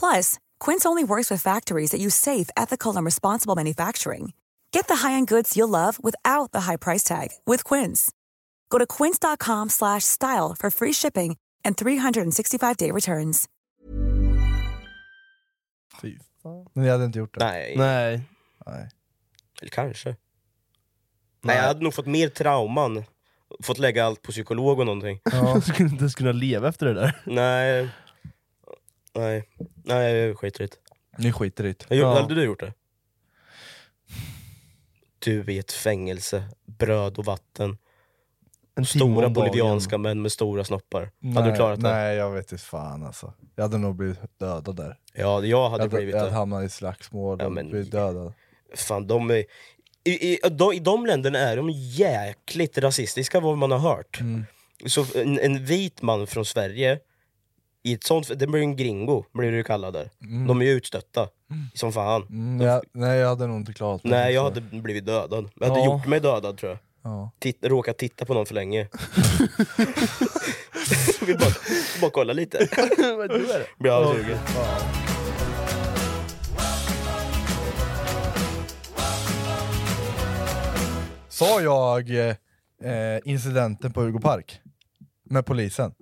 S10: Plus, Quince only works with factories that use safe, ethical, and responsible manufacturing. Get the high-end goods you'll love without the high price tag with Quince. Go to quince.com slash style for free shipping and 365-day returns.
S4: Fy fan.
S3: Men jag hade inte gjort det.
S5: Nej,
S4: Nej.
S3: Nej.
S5: eller kanske. Nej, jag hade nog fått mer trauman. Fått lägga allt på psykolog och någonting.
S3: *laughs*
S4: *laughs* Jag skulle inte ens kunna leva efter det där.
S5: Nej. Nej, nej jag skiter i det.
S3: Ni skiter i det.
S5: Jag gjorde-
S4: Ja.
S5: Hade du gjort det? Du i ett fängelse, bröd och vatten,
S4: En timme om
S5: stora
S4: dagen.
S5: bolivianska män med stora snoppar. hade
S3: Nej,
S5: du klarat det?
S3: Nej, jag vet inte fan alltså. Jag hade nog blivit dödad där.
S5: Ja, jag hade
S3: jag,
S5: blivit
S3: jag
S5: det.
S3: hamnade i slagsmål och
S5: Ja, men-
S3: blivit dödad.
S5: Fan, de är, i, i, de, I de länderna är de jäkligt rasistiska vad man har hört.
S3: Mm.
S5: Så en, en vit man från Sverige, i ett sånt, det blir en gringo, blir det ju kallad där. De är ju utstötta, som fan.
S3: Mm, jag, nej, jag hade nog inte klarat mig.
S5: Nej, jag hade blivit dödad. Jag hade
S4: Ja.
S5: gjort mig dödad tror jag.
S3: Ja.
S5: Titt, råkat titta på någon för länge.
S3: *laughs*
S5: Vill bara, bara kolla lite.
S3: *laughs*
S5: Blir avsugen.
S3: Sa jag eh, eh, incidenten på Hugo Park? Med polisen?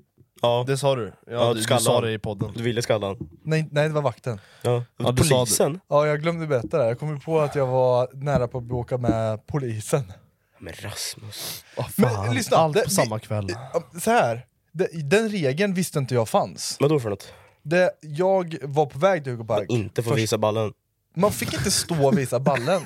S5: Ja,
S4: Det sa du. Ja,
S5: Ja,
S4: du, du
S5: skallan.
S4: sa det i podden.
S5: du ville skalla han.
S3: Nej, nej det var vakten.
S5: Ja.
S4: Ja, du sa det.
S5: Polisen?
S3: Ja, jag glömde berätta det. här. Jag kom ju på att jag var nära på att bli åka med polisen.
S5: Men Rasmus.
S4: Åh,
S3: Men
S4: fan.
S3: lyssna,
S4: Allt
S3: det-
S4: på samma kväll.
S3: Ja, Så här. Den, den regeln visste inte jag fanns.
S5: Vadå för något?
S3: Det, jag var på väg till Hugo Park.
S5: Inte få
S3: Först-
S5: visa ballen.
S3: Man fick inte stå och visa ballen.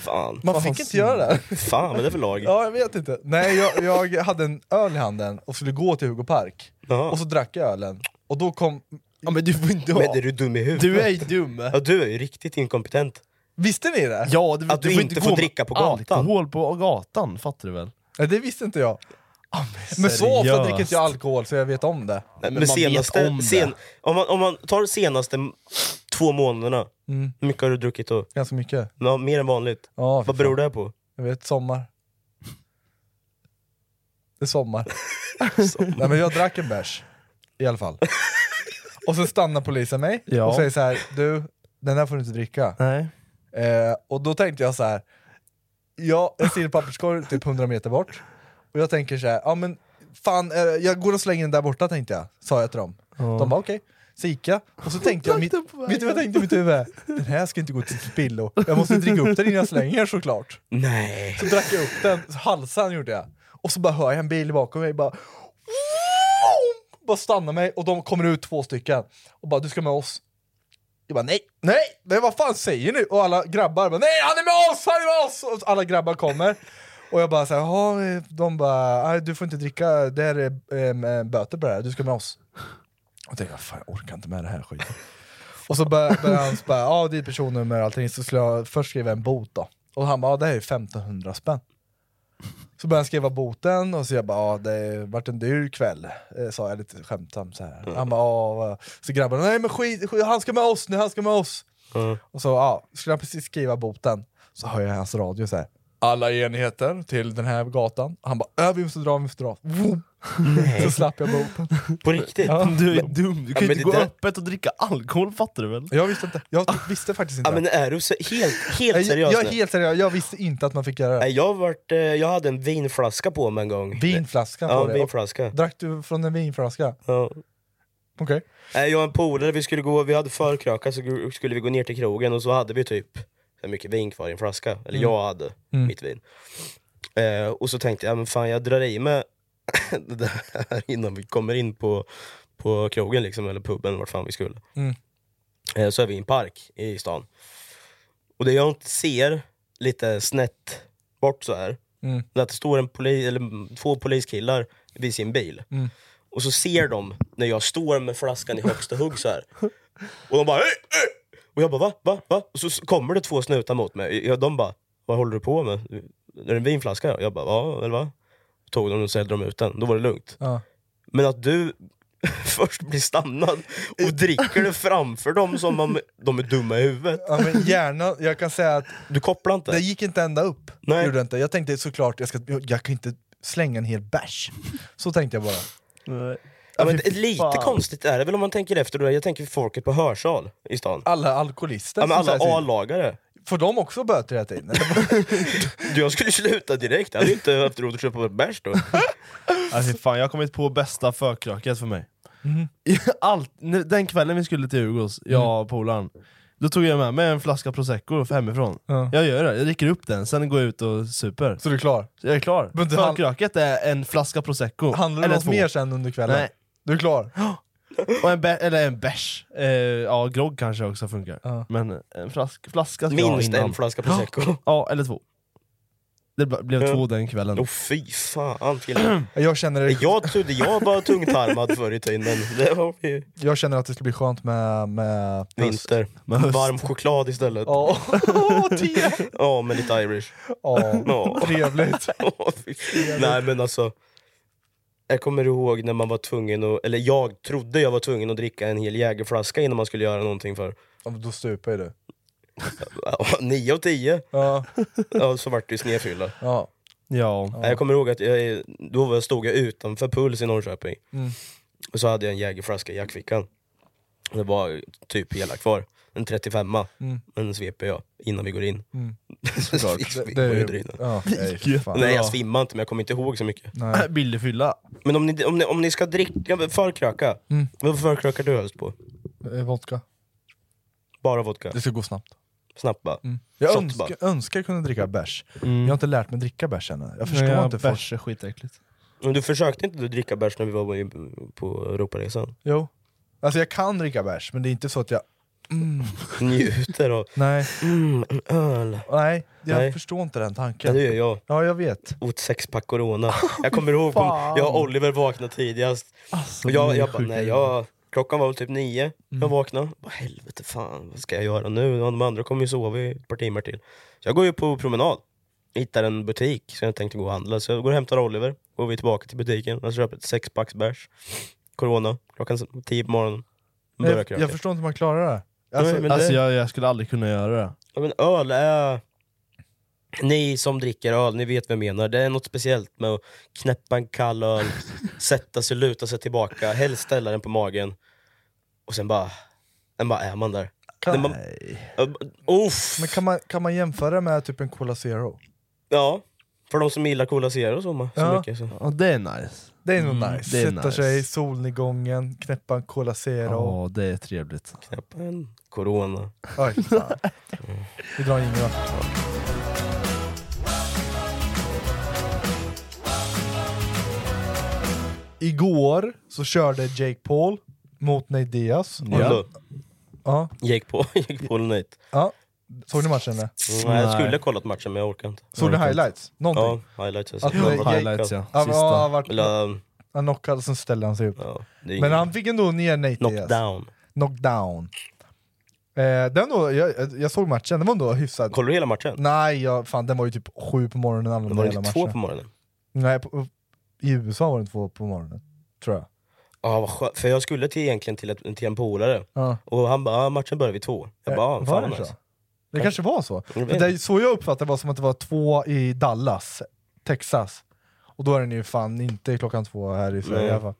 S5: Fan.
S3: Man fick inte göra det.
S5: Fan vad är det för lag?
S3: Ja, jag vet inte. Nej, jag, jag hade en öl i handen och skulle gå till Hugo Park. Och så drack jag ölen. Och då kom... Ja, men du får inte
S5: Men är du dum i huvudet?
S3: Du är ju dum.
S5: Ja, du är ju riktigt inkompetent.
S3: Visste ni det?
S4: Ja,
S5: Att du inte får
S4: gå med
S5: dricka på gatan.
S4: Alkohol på gatan, fattar du väl?
S3: Nej, det visste inte jag. men så ofta
S4: seriöst.
S3: dricker inte jag alkohol så jag vet om det.
S5: men senaste, Sen, om, man, om man tar de senaste m- två månaderna,
S3: Mm.
S5: hur mycket har du druckit då?
S3: Ganska mycket.
S5: Ja, mer än vanligt.
S3: Ja,
S5: Vad beror det här på?
S3: Jag vet, sommar. Det är sommar. Nej, men jag drack en bärs, i alla fall. och sen stannar polisen mig
S4: Ja.
S3: och säger så här, du, den där får du inte dricka.
S4: Nej.
S3: Eh, och då tänkte jag så här, jag, jag ser en papperskorg typ 100 meter bort, och jag tänker så här, ja men fan, eh, jag går och slänger den där borta tänkte jag, sa jag till dem. De bara okej. Så gick jag, och så tänkte jag, mitt, vet du vad jag tänkte i mitt huvud? Den här ska inte gå till spillo, jag måste dricka upp den innan jag slänger såklart.
S5: Nej.
S3: Så drack jag upp den, halsen gjorde jag. Och så bara hör jag en bil bakom mig bara... Bara stannar mig och de kommer ut två stycken och bara du ska med oss. Jag bara nej, nej, nej vad fan säger ni? Och alla grabbar bara nej han är med oss, han är med oss! Och alla grabbar kommer. Och jag bara såhär, jaha, eh, de bara nej, du får inte dricka, det här är ehm, eh, böter på det här, du ska med oss. Och jag tänkte, fan jag orkar inte med det här skiten. Och så bör- började han så bara, ja ditt personnummer och allting, så skulle jag först skriva en bot då. Och han bara, ja det här är 1500 spänn. Så började han skriva boten och så jag bara, ja det har varit en dyr kväll, eh, sa jag lite skämtsamt så här. Han bara, ja. vad- Så grabbarna, nej men skit, skit, han ska med oss nu, han ska med oss.
S4: Mm.
S3: Och så ja, skulle han precis skriva boten, så hör jag hans radio så här. Alla enheter till den här gatan. Han bara, äh, vi måste dra, vi måste dra. Vroom. Så slapp jag
S4: *laughs*
S3: boten.
S5: På riktigt?
S3: Ja.
S4: Du är dum, du
S5: Ja,
S4: kan ju
S5: men
S4: inte
S5: det
S4: gå
S5: där-
S4: öppet och dricka alkohol, fattar du väl?
S3: Jag visste inte, jag visste faktiskt inte.
S5: Ja, men är du så, helt, helt
S3: jag,
S5: seriös
S3: jag
S5: nu?
S3: är helt seriös, jag visste inte att man fick göra det.
S5: Nej, jag, har varit, eh, jag hade en vinflaska på mig en gång.
S3: Vinflaska
S5: Ja,
S3: på dig.
S5: vinflaska.
S3: Och Drack du från en vinflaska?
S5: Ja.
S3: Okej.
S5: Nej, jag och en polare, vi, skulle gå- vi hade förkrökat så gu- skulle vi gå ner till krogen och så hade vi typ så här mycket vin kvar i en flaska. Eller
S3: Mm.
S5: jag hade
S3: Mm.
S5: mitt vin. Eh, och så tänkte jag, men fan jag drar i mig *laughs* det där innan vi kommer in på, på krogen liksom, eller puben, vart fan vi skulle.
S3: Mm.
S5: Eh, så är vi i en park i stan. Och det jag inte ser, lite snett bort så här,
S3: Mm.
S5: det är att det står en poli, eller två poliskillar vid sin bil.
S3: Mm.
S5: Och så ser de när jag står med flaskan i högsta hugg så här. Och de bara hej, hej! Och jag bara va, va, va? Och så s- kommer det två snutar mot mig. Jag, de bara, vad håller du på med? Är det en vinflaska? Och jag bara, ja eller va? Tog de den och säljer de ut den. Då var det lugnt.
S3: Ja.
S5: Men att du *laughs* först blir stannad och dricker det framför dem som om de är dumma i huvudet.
S3: Ja, men gärna, jag kan säga att
S5: Du kopplar inte.
S3: det gick inte ända upp.
S5: Nej.
S3: Gjorde det inte. Jag tänkte såklart, jag, ska, jag, jag kan inte slänga en hel bärs. Så tänkte jag bara.
S5: Ja, men det är
S3: Fy
S5: lite
S3: fan.
S5: konstigt är det väl om man tänker efter. då. Jag tänker folket på hörsal i stan.
S3: Alla alkoholister
S5: Ja, men
S3: som
S5: alla
S3: säger-
S5: A-lagare.
S3: Får de också böter hela tiden?
S5: Du, jag skulle sluta direkt. Jag hade inte haft råd att köpa bärs
S4: *laughs*
S5: då.
S4: Alltså, fan, jag har kommit på bästa förkröket för mig.
S3: Mhm.
S4: *laughs* Allt, nu- den kvällen vi skulle till Hugos, jag och polaren, då tog jag med mig en flaska prosecco hemifrån.
S3: Ja.
S4: Jag gör det, jag dricker upp den, sen går jag ut och super.
S3: Så du är klar?
S4: Så jag är klar.
S3: Men det han-
S4: Förkröket är en flaska prosecco,
S3: Handlar det
S4: eller
S3: något
S4: två.
S3: mer sen under kvällen?
S4: Nej.
S3: Du är klar?
S4: Och en bä- eller en bärs. Eh, ja, grogg kanske också funkar.
S3: Ja.
S4: Men en flask, flaska ska jag ha
S5: Minst
S4: innan.
S5: en flaska prosecco.
S4: Ja, eller två. Det ble- blev
S5: Ja.
S4: två den kvällen.
S5: Åh fy fan killar.
S3: Jag känner, det,
S5: Jag trodde jag var tungtarmad förr i tiden. Det var ju
S3: jag känner att det skulle bli skönt med... med...
S5: vinter.
S4: Men höst.
S5: Varm choklad istället. Ja, *laughs*
S3: Ja, Åh, te!
S5: med lite Irish.
S3: Ja,
S5: *laughs* Ja.
S3: trevligt.
S5: Åh, fy. Nej men alltså. Jag kommer ihåg när man var tvungen att, eller jag trodde jag var tvungen att dricka en hel jägerflaska innan man skulle göra någonting för.
S3: Ja, men Då stupar ju du.
S5: Ja, Nio av tio.
S3: Ja,
S5: Ja, så vart det ju snedfylla.
S3: ja.
S4: Ja.
S5: Nej, Jag kommer ihåg att jag, då var- stod jag utanför Puls i Norrköping.
S3: Mm.
S5: Och så hade jag en jägerflaska i jackfickan. Och Det var typ hela kvar. En 35a.
S3: Mm.
S5: Men den sveper jag innan vi går in.
S3: Mm.
S5: *laughs* Så
S3: Det,
S5: svepar
S3: det är
S5: jag
S3: ju...
S5: dryna. *laughs*
S3: Ja, nej, för fan.
S5: Nej jag svimmar inte men jag kommer inte ihåg så mycket.
S4: *laughs*
S3: Nej.
S4: Billig fylla.
S5: Men om ni, om ni, om ni ska dricka, förkröka.
S3: Mm.
S5: Vad förkrökar du helst på?
S3: Eh, Vodka.
S5: Bara vodka?
S3: Det ska gå snabbt.
S5: Snabbt bara?
S3: Jag
S5: Shot
S3: önskar,
S5: bara.
S3: önskar jag kunde dricka bärs. Jag har inte lärt mig dricka bärs ännu. Jag förstår
S4: Nej, ja,
S3: inte folk.
S4: Bärs är skitäckligt.
S5: Men du försökte inte du dricka bärs när vi var på- på Europaresan?
S3: Jo. Alltså jag kan dricka bärs, men det är inte så att jag Mm.
S5: Njuter av...
S3: Nej.
S5: Mm, en öl.
S3: Nej, jag
S5: Nej.
S3: förstår inte den
S5: Ja,
S3: tanken.
S5: det gör jag.
S4: Ja, jag vet.
S5: Åt sexpack corona. Jag kommer ihåg, kom,
S3: Fan.
S5: jag och Oliver vaknade tidigast.
S3: Alltså,
S5: och jag,
S3: ni är
S5: jag bara,
S3: sjuka.
S5: nej, jag, klockan var väl typ nio, jag
S3: Mm.
S5: vaknade. Jag bara, helvete fan, vad ska jag göra nu? De andra kommer ju sova i ett par timmar till. Så jag går ju på promenad, hittar en butik som jag tänkte gå och handla. Så jag går och hämtar Oliver, går vi tillbaka till butiken, jag köper ett sexpacks bärs. Corona, klockan s- tio på morgonen.
S3: Nej,
S5: Börjar
S3: jag,
S5: kröka.
S3: jag förstår inte hur man klarar det.
S4: Alltså,
S5: Nej, men
S4: alltså
S5: det-
S4: jag, jag skulle aldrig kunna göra det.
S5: Ja, men öl är... Ni som dricker öl, ni vet vad jag menar. Det är något speciellt med att knäppa en
S3: *laughs*
S5: kall öl, sätta sig, luta sig tillbaka, helst ställa den på magen. Och sen bara, den bara är man där. Den bara, uff,
S3: Men kan man, kan man jämföra med typ en Cola Zero?
S5: ja, för de som gillar Cola Zero så, ma- så
S3: Ja.
S5: mycket. Så.
S4: Ja, det är nice.
S3: Det är nog
S4: Mm,
S3: nice.
S4: det är
S3: Sätta
S4: nice.
S3: sig i solnedgången, knäppa en Cola
S4: Ja,
S3: Zero.
S4: det är trevligt.
S5: Knäppa en corona.
S3: Oj, fan.
S5: *laughs*
S3: Vi drar in va? Igår så körde Jake Paul mot Nate Diaz.
S5: Ja.
S3: Ja,
S5: Gick på, *laughs* gick på Nate.
S3: ja. Såg ni matchen? eller?
S5: Nej, jag
S4: Nej.
S5: skulle ha kollat matchen men jag orkar inte.
S3: Såg ni highlights?
S5: Ja,
S3: Någonting?
S5: highlights. Jag
S3: Att
S5: sett.
S3: det-
S5: Någon-
S4: Highlights ja,
S3: Ja,
S4: sista.
S3: han, var,
S5: Eller, um,
S3: han knockade och sen ställde han sig upp.
S5: ja, det är
S3: Men
S5: ingen-
S3: han fick ändå ner Nate Diaz.
S5: knockdown.
S3: Knockdown. Eh, den då, jag, jag såg matchen, den var ändå hyfsad.
S5: Kollar du hela matchen?
S3: Nej, jag, fan, den var ju typ sju på morgonen.
S5: Det
S3: använde
S5: var
S3: hela
S5: ju två
S3: matchen.
S5: på morgonen.
S3: Nej, på, i USA var den två på morgonen. Tror jag.
S5: Ja, vad skönt. För jag skulle till, egentligen till, ett, till en polare,
S3: Ja.
S5: och han bara ah, “matchen börjar vid två”. Jag bara ah,
S3: Eh,
S5: “fan
S3: det
S5: vad
S3: så?
S5: nice”.
S3: Det kanske var så.
S5: Jag
S3: För
S5: vet
S3: det,
S5: inte.
S3: så jag uppfattade var som att det var två i Dallas, Texas. Och då är den ju fan inte klockan två här i Sverige
S5: Nej.
S3: i alla fall.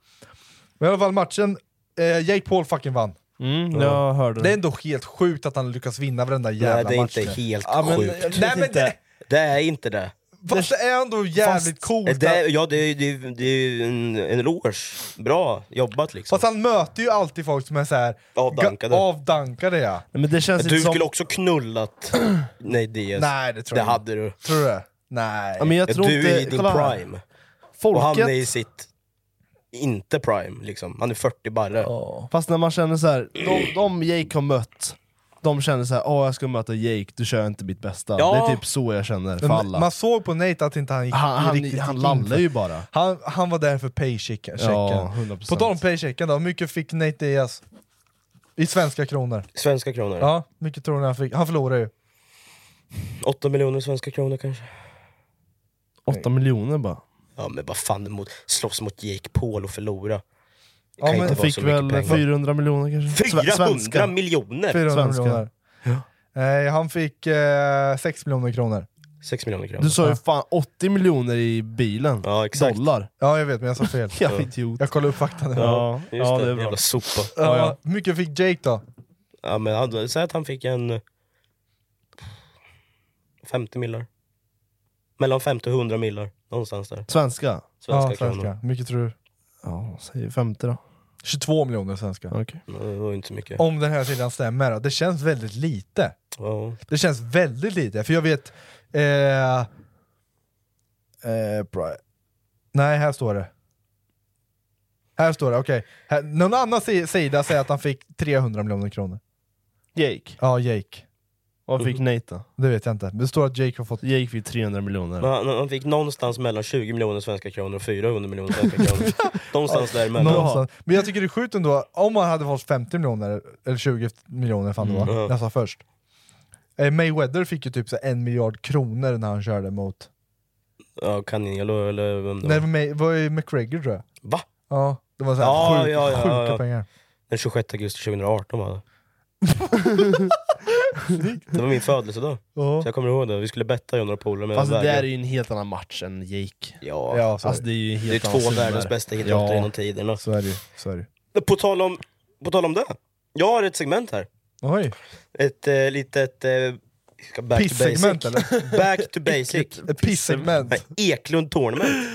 S3: Men i alla fall matchen, eh, Jake Paul fucking vann.
S4: Mm, jag hörde
S3: Det är ändå helt sjukt att han lyckas vinna varenda jävla
S5: Nej, det är
S3: match.
S5: inte
S3: nu.
S5: helt
S4: Ja, men-
S5: sjukt.
S4: jag vet
S3: Nej, men
S4: inte.
S3: det,
S5: Det är inte det.
S3: fast det är ändå jävligt coolt.
S5: det
S3: att-
S5: ja, det är det, är- det är en, en eloge. Bra jobbat liksom.
S3: Fast han möter ju alltid folk som är så här
S5: Avdankade.
S3: ga- avdankade ja.
S4: Men det känns
S5: du
S4: inte som...
S5: skulle också knullat
S3: *clears throat*
S5: Nej Diaz.
S3: Nej, det tror
S5: det
S3: jag inte.
S5: hade du.
S3: Tror du det? Nej.
S4: Ja, men jag tror
S5: Du är i
S4: inte...
S5: din
S4: Kolla här.
S5: prime. Och han
S4: Folket...
S5: är i sitt... Inte prime liksom. Han är 40 barre.
S4: Fast när man känner så här, de, de Jake har mött, de känner så här, åh jag ska möta Jake, du kör inte mitt bästa.
S5: Ja.
S4: Det är typ så jag känner för
S3: Men
S4: alla.
S3: Man såg på Nate att inte han gick
S4: han han,
S3: riktigt
S4: han
S3: in
S4: lallar
S3: för-
S4: ju bara.
S3: Han, han var där för paychecken.
S4: Ja, 100%.
S3: På tal om paychecken då, hur mycket fick Nate Diaz? I svenska kronor.
S5: Svenska kronor.
S3: Ja, mycket tror ni han fick? Han förlorade ju.
S5: 8 miljoner svenska kronor kanske.
S4: 8 miljoner bara.
S5: Ja men vad fan, mot, slåss mot Jake Paul och förlora.
S3: Ja,
S5: kan
S3: men
S5: inte
S4: Jag
S5: vara
S4: fick
S5: så mycket
S4: väl
S5: pengar.
S4: 400 miljoner kanske? Sve-
S5: 400
S4: svenska.
S5: miljoner!
S3: 400
S4: Svenska.
S3: miljoner. Eh, han fick eh, 6 miljoner kronor.
S5: 6 miljoner kronor.
S4: Du sa ju fan 80 miljoner i bilen.
S5: Ja, exakt.
S4: Dollar.
S3: Ja, jag vet men jag sa fel.
S4: *laughs* Ja, idiot.
S3: Jag kollade upp fakta nu.
S4: Ja,
S5: Just
S4: ja
S5: det,
S4: det är bra.
S5: jävla sopa.
S3: Ja,
S4: ja.
S3: Hur mycket fick Jake då?
S5: Ja, men han, säg att han fick en... 50 millar. Mellan 50 och 100 millar. Någonstans där.
S4: Svenska?
S5: Svenska,
S3: ja, svenska.
S5: kronor.
S3: Hur mycket tror du?
S4: Ja, säg 50 då.
S3: 22 miljoner svenska.
S4: Okej.
S5: Det var ju inte så mycket.
S3: Om den här sidan stämmer då. Det känns väldigt lite.
S5: Ja.
S3: Det känns väldigt lite, för jag vet... Eh, eh, bra. Nej, här står det. Här står det, okej. Här- Någon annan si- sida säger att han fick 300 miljoner kronor.
S4: Jake?
S3: Ja, Jake.
S4: Vad fick Nate då?
S3: Det vet jag inte. Men Det står att Jake har fått...
S4: Jake fick 300 miljoner.
S5: Men han, han fick någonstans mellan 20 miljoner svenska kronor och 400 miljoner
S4: *laughs*
S5: svenska kronor. någonstans däremellan.
S3: Någonstans. Men jag tycker det är sjukt ändå, om han hade fått 50 miljoner, eller 20 miljoner fan det var,
S5: Mm.
S3: jag sa först. Eh, Mayweather fick ju typ så här en miljard kronor när han körde mot...
S5: Ja, Canelo eller vem det
S3: Nej,
S5: var.
S3: May, var ju McGregor tror jag.
S5: Va?
S3: Ja, det var så här
S5: Ja,
S3: sjukt,
S5: ja, ja,
S3: sjuka
S5: ja.
S3: pengar.
S5: Den 26 augusti 2018 var det. det var min födelsedag.
S3: Ja.
S5: Så jag kommer ihåg det. Vi skulle betta jag och några polare. men jag
S4: Fast det
S5: vägrade.
S4: där är ju en helt annan match än Jake.
S5: Ja.
S3: Ja, så
S4: Alltså det är ju en
S5: Det är
S4: helt annan
S5: två
S4: syn där.
S5: världens bästa idrottare
S4: Ja.
S5: genom tiderna.
S3: Så är det ju, så är det ju.
S5: På tal, om, på tal om det. Jag har ett segment här.
S3: Oj!
S5: Ett eh, litet... Eh, ska back to
S3: Pissegment
S5: basic.
S3: eller?
S5: Back to basic.
S3: Ett pissegment.
S5: Nej, Eklund Tournament.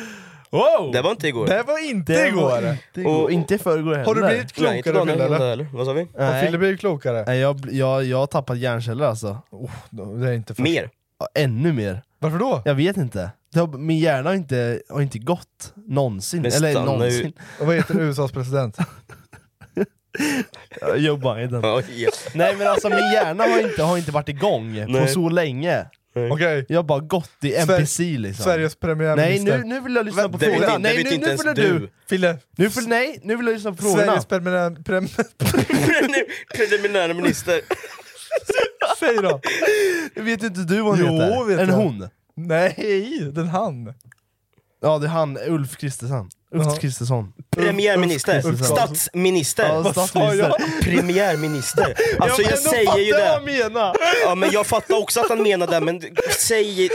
S4: Wow!
S5: Det var inte igår.
S3: Det här var inte
S4: Det
S3: igår!
S4: var inte igår.
S5: Och-
S4: inte i förrgår heller.
S3: Har du blivit
S5: Nej, inte
S3: klokare Fille
S5: dagen
S3: eller?
S5: innan eller? Vad sa vi?
S3: Har
S4: Nej,
S3: Fille blivit klokare?
S4: Nej jag, bl- jag, jag har tappat hjärnceller alltså.
S3: Oh, det är inte för...
S5: Mer.
S4: Ja, Ännu mer.
S3: Varför då?
S4: Jag vet inte. Det har, min hjärna har inte, har inte gått någonsin.
S5: Men
S4: Eller
S5: stannar ju-
S4: någonsin.
S3: Och Vad heter USAs president?
S4: *laughs* Joe Biden.
S5: ja. *laughs*
S4: Nej men alltså min hjärna har inte, har inte varit igång på
S3: Nej.
S4: så länge.
S3: Okej.
S4: Jag har bara gått i NPC liksom.
S3: Sveriges premiärminister.
S4: Nej nu, nu vill jag lyssna på
S3: Det vet
S4: frågorna.
S3: inte- det
S4: nej,
S3: vet
S4: nu,
S3: inte
S4: nu
S3: ens
S4: vill
S3: du. Fille.
S4: Nu vill, nej, nu vill jag lyssna på frågorna.
S3: Sveriges premiär... Prem,
S5: Preliminära minister.
S3: säg då!
S4: Vet inte du vad
S3: jo,
S4: hon heter?
S3: Vet
S4: en
S3: jag.
S4: hon?
S3: Nej, den han.
S4: Ja det är han, Ulf Kristersson. Ulf
S3: Ja.
S4: Kristersson.
S5: Premiärminister.
S4: Ulf Kristersson.
S5: Statsminister.
S4: Ja, statsminister. *laughs*
S5: Premiärminister. Alltså jag,
S4: men då
S5: säger ju
S4: fattar jag
S5: det.
S4: vad jag menar.
S5: Ja, men jag fattar också att han menar det, men säg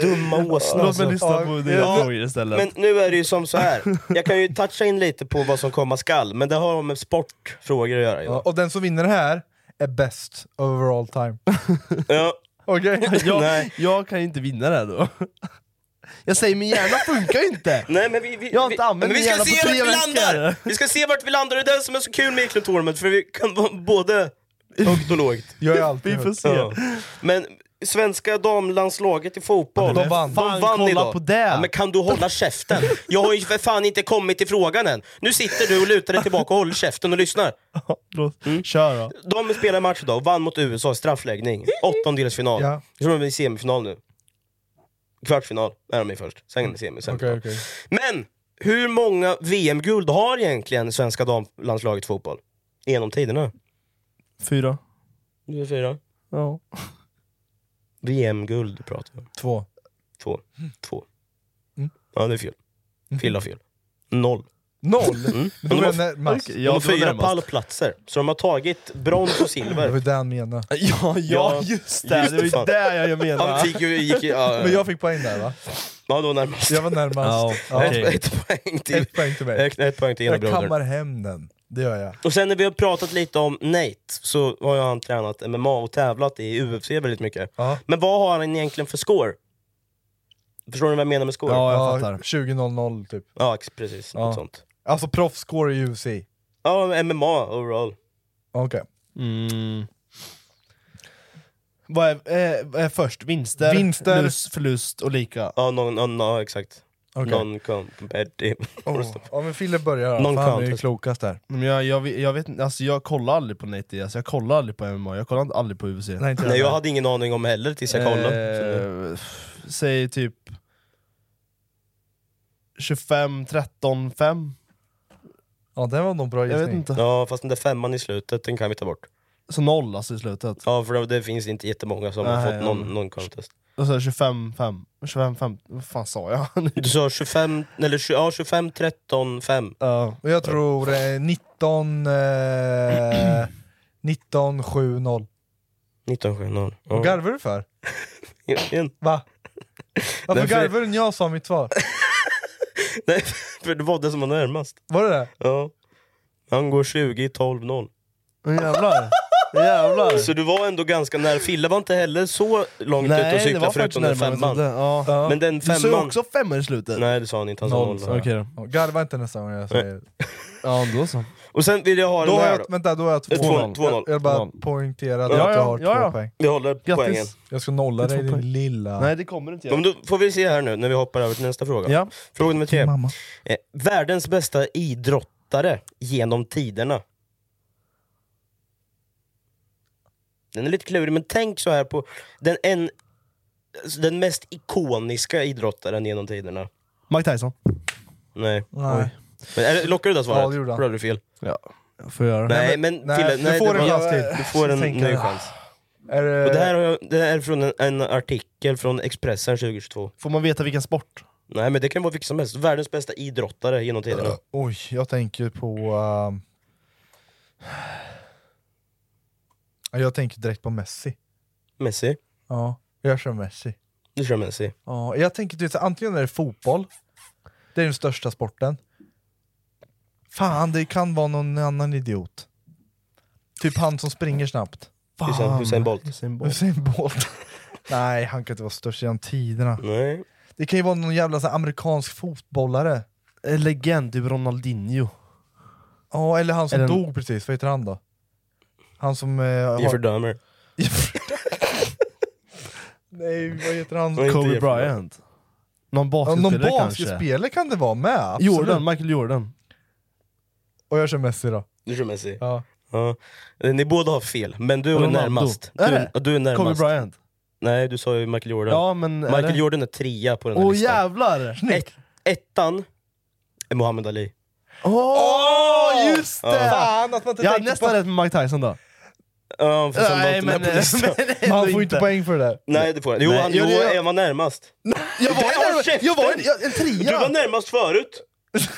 S5: dumma åsna.
S4: Låt
S5: alltså.
S4: mig lyssna på dina
S5: Ja.
S4: frågor istället.
S5: Men nu är det ju som så här. jag kan ju toucha in lite på vad som komma skall, men det har med sportfrågor att göra.
S3: Ja,
S5: Ja.
S3: och den som vinner här är bäst over all time.
S5: Ja.
S3: Okej?
S5: *laughs*
S4: jag, *laughs* jag kan ju inte vinna det här då. *laughs* Jag säger min hjärna funkar ju inte!
S5: Nej, men vi, vi,
S4: Jag har inte använt
S5: men vi
S4: min hjärna
S5: ska
S4: på
S5: se
S4: tre
S5: vart vi
S4: veckor.
S5: landar! Vi ska se vart vi landar, det är det som är så kul med Eklund för vi kan
S4: *laughs*
S5: vara både högt och lågt.
S3: Jag är alltid
S4: Vi får se.
S5: Ja. Men svenska damlandslaget i fotboll,
S3: De vann.
S4: Fan,
S5: de
S4: kolla
S5: idag.
S4: på det.
S5: Ja, men kan du hålla käften? Jag har ju för fan inte kommit till frågan än. Nu sitter du och lutar dig tillbaka och håller käften och lyssnar.
S4: Låt,
S3: Mm.
S4: Kör då.
S5: De spelar match idag och vann mot USA i straffläggning. Åttondelsfinal.
S3: Ja.
S5: Jag tror de är i semifinal nu. Kvartsfinal är de i först, sen är de i semi. Sen.
S3: Okej, okej.
S5: Men hur många VM-guld har egentligen svenska damlandslaget i fotboll? Genom tiderna?
S4: Fyra.
S5: Det är fyra.
S4: Ja.
S5: VM-guld pratar vi om.
S3: Två.
S5: Två.
S3: Mm.
S5: Två. Ja, det är fel. Fel har fel. Noll.
S3: Noll!
S5: Mm.
S3: Då är
S5: Men de har,
S3: jag närmast.
S4: Okej,
S5: de har
S4: det var
S5: fyra
S4: närmast.
S5: pallplatser, så de har tagit brons och
S3: *laughs* Det var
S5: silver.
S3: det han menade.
S4: Ja, ja
S5: Ja,
S4: just det!
S5: just
S4: det var ju
S5: det, fan.
S4: det jag- jag
S5: Han
S4: menade.
S5: fick ju... Gick, ju- ja,
S3: Men jag fick poäng där va?
S5: ja, då närmast.
S3: Jag var närmast.
S4: Ja, okej.
S5: Ett, ett poäng till.
S3: Ett poäng till mig.
S5: Ett, ett poäng till ena
S3: Jag kammar
S5: brodern.
S3: hem den. Det gör jag.
S5: Och sen när vi har pratat lite om Nate, så har ju han tränat MMA och tävlat i UFC väldigt mycket.
S3: Ja.
S5: Men vad har han egentligen för score? Förstår ni vad jag menar med score?
S4: Ja, jag
S3: Ja,
S4: fattar.
S3: 20.00 typ.
S5: Ja, ex- precis.
S3: Ja.
S5: Något sånt.
S3: Alltså proffsscore i UFC. Okej.
S5: Ja, MMA overall.
S4: Mm. Vad är, eh, vad är först? Vinster,
S3: Vinster.
S4: Plus, förlust och lika?
S5: Ja, någon, någon, ja exakt.
S3: Okej.
S4: *laughs*
S5: Non-competitive.
S3: Oh. Ja men Fille börjar här.
S5: Någon
S3: Fan, han är ju
S5: contest.
S3: klokast där.
S4: Men jag, jag, vet- jag vet inte, alltså jag kollar aldrig på Nate Diaz, jag kollar aldrig på MMA, jag kollar aldrig på UFC.
S3: Nej, inte
S5: Nej, jag hade ingen aning om heller tills jag kollade. Så det-
S4: Eh, f- säg typ 25, 13, 5?
S3: Ja det var nog en bra
S4: Jag vet
S3: gissning.
S4: inte.
S5: Ja, fast den där femman i slutet, den kan vi ta bort.
S4: Så noll alltså i slutet.
S5: Ja, för det- det finns inte jättemånga som
S4: Nej,
S5: har fått
S4: ja.
S5: någon, någon contest.
S4: Och så 25, 5. 25, 5. Vad fan sa jag? *laughs* nu?
S5: Du sa 25, eller 20, ja, 25, 13, 5.
S4: Ja.
S3: Och jag tror eh, 19... Eh, 19 7 0.
S5: 19, 7, 0.
S3: Vad
S5: Ja.
S3: garvar du för?
S5: Egentligen.
S3: Va? Varför
S5: Nej, för-
S3: garvar du när jag sa mitt svar?
S5: Nej, *laughs* för det var det som var närmast.
S3: Var det det?
S5: Ja. Han går 20, 12, 0.
S4: Men Jävlar. Jävlar.
S5: Så du var ändå ganska nära. Fille var inte heller så långt ute och
S4: Nej, det var
S5: cykla
S4: faktiskt
S5: förutom den
S4: närmare än jag
S5: femman.
S4: trodde. Ja.
S3: Ja.
S5: Men den
S4: Du sa ju
S5: femman...
S4: också femma i slutet.
S5: Nej det sa han inte, han sa
S3: Noll,
S5: noll.
S3: sa
S4: Okej
S5: Ja.
S4: då.
S3: Ja, Garva inte nästa gång jag säger
S4: Ja, då så.
S5: Och sen vill jag
S3: Då
S5: ha den
S3: har
S5: här då.
S3: jag, vänta, då har jag två,
S5: Eh, två-
S3: noll.
S5: två noll.
S3: Jag vill bara
S4: Noll.
S3: poängtera att
S4: Ja,
S3: jag
S4: ja,
S3: har
S4: ja,
S3: två
S4: ja.
S3: poäng.
S5: Vi håller poängen.
S4: Grattis.
S3: Jag ska nolla
S4: Det är
S3: dig
S4: två
S3: din
S4: poäng.
S3: lilla...
S4: Nej, det kommer inte
S5: Ja, men
S4: jag.
S5: då får vi se här nu när vi hoppar över till nästa fråga.
S4: Ja.
S5: Fråga nummer tre.
S3: Mamma.
S5: Eh, världens bästa idrottare genom tiderna. Den är lite klurig, men tänk så här på den, en, alltså, den mest ikoniska idrottaren genom tiderna.
S4: Mike Tyson.
S5: Nej.
S3: Nej.
S5: Men, eller, lockar du det svaret?
S3: Ja, det gjorde han.
S5: Då hade du fel.
S4: Ja. Jag får göra det.
S5: Nej, men
S3: nej,
S5: Fille,
S3: du
S5: nej,
S3: får
S5: det
S3: en
S5: var-
S3: chans till.
S5: Du får en
S3: Tänk
S5: ny
S3: jag.
S5: chans.
S3: Är det...
S5: Och det, här har jag, det här är från en, en artikel från Expressen 2022.
S4: Får man veta vilken sport?
S5: Nej men det kan vara vilken som helst. Världens bästa idrottare genom tiderna.
S3: Oj, jag tänker på... ehm, Jag tänker direkt på Messi.
S5: Messi.
S3: Ja, jag kör Messi.
S5: Du kör Messi.
S3: Ja, jag tänker typ, så här, antingen är det fotboll, det är den största sporten. Fan, det kan vara någon annan idiot. Typ han som springer snabbt.
S5: Hussein, Hussein Bolt.
S4: Ah, Usain Bolt.
S3: Usain Bolt. *laughs* Nej, han kan inte vara störst genom tiderna.
S5: Nej.
S3: Det kan ju vara någon jävla så här, amerikansk fotbollare.
S4: En legend, typ Ronaldinho.
S3: Ja, eller han som
S4: Eller en-
S3: dog precis, vad heter han då? Han som... Eh, har...
S5: Jeffrey Dahmer.
S3: *laughs* Nej, vad heter han?
S5: Nej, inte
S4: Kobe
S5: Jeffrey
S4: Bryant. Någon
S3: Ja, någon
S4: basketspelare kanske?
S3: basketspelare kan det vara med, absolut.
S4: Jordan, Michael Jordan.
S3: Och jag kör Messi då.
S5: Du kör Messi? Eh,
S3: Ja.
S5: Ni båda har fel, men du är
S4: Ronaldo.
S5: närmast.
S4: Är det?
S5: Du, du är närmast.
S4: Kobe Bryant?
S5: Nej, du sa ju Michael Jordan.
S4: Ja, men är
S5: Michael
S4: det-
S5: Jordan är trea på den här
S4: Åh
S5: listan.
S4: jävlar!
S5: Ett, ettan är Muhammad Ali.
S4: Åh just
S5: Ja.
S4: det!
S5: Fan att man inte
S4: jag hade
S5: tänkte
S4: nästan
S5: på-
S4: rätt med Mike Tyson då.
S5: Ja, fast han var
S4: Nej,
S5: inte med
S4: men-
S5: på listan.
S4: *laughs* men ändå Han får inte inte. poäng
S3: för det där.
S5: Nej, det får han. Jo,
S4: Nej.
S5: han,
S4: Jo,
S5: jo,
S4: det-
S5: jag var närmast.
S3: Jag
S5: Där har
S3: var,
S5: käften!
S3: jag var en, jag, en
S5: Du
S3: trea!
S5: var närmast förut.
S4: *laughs*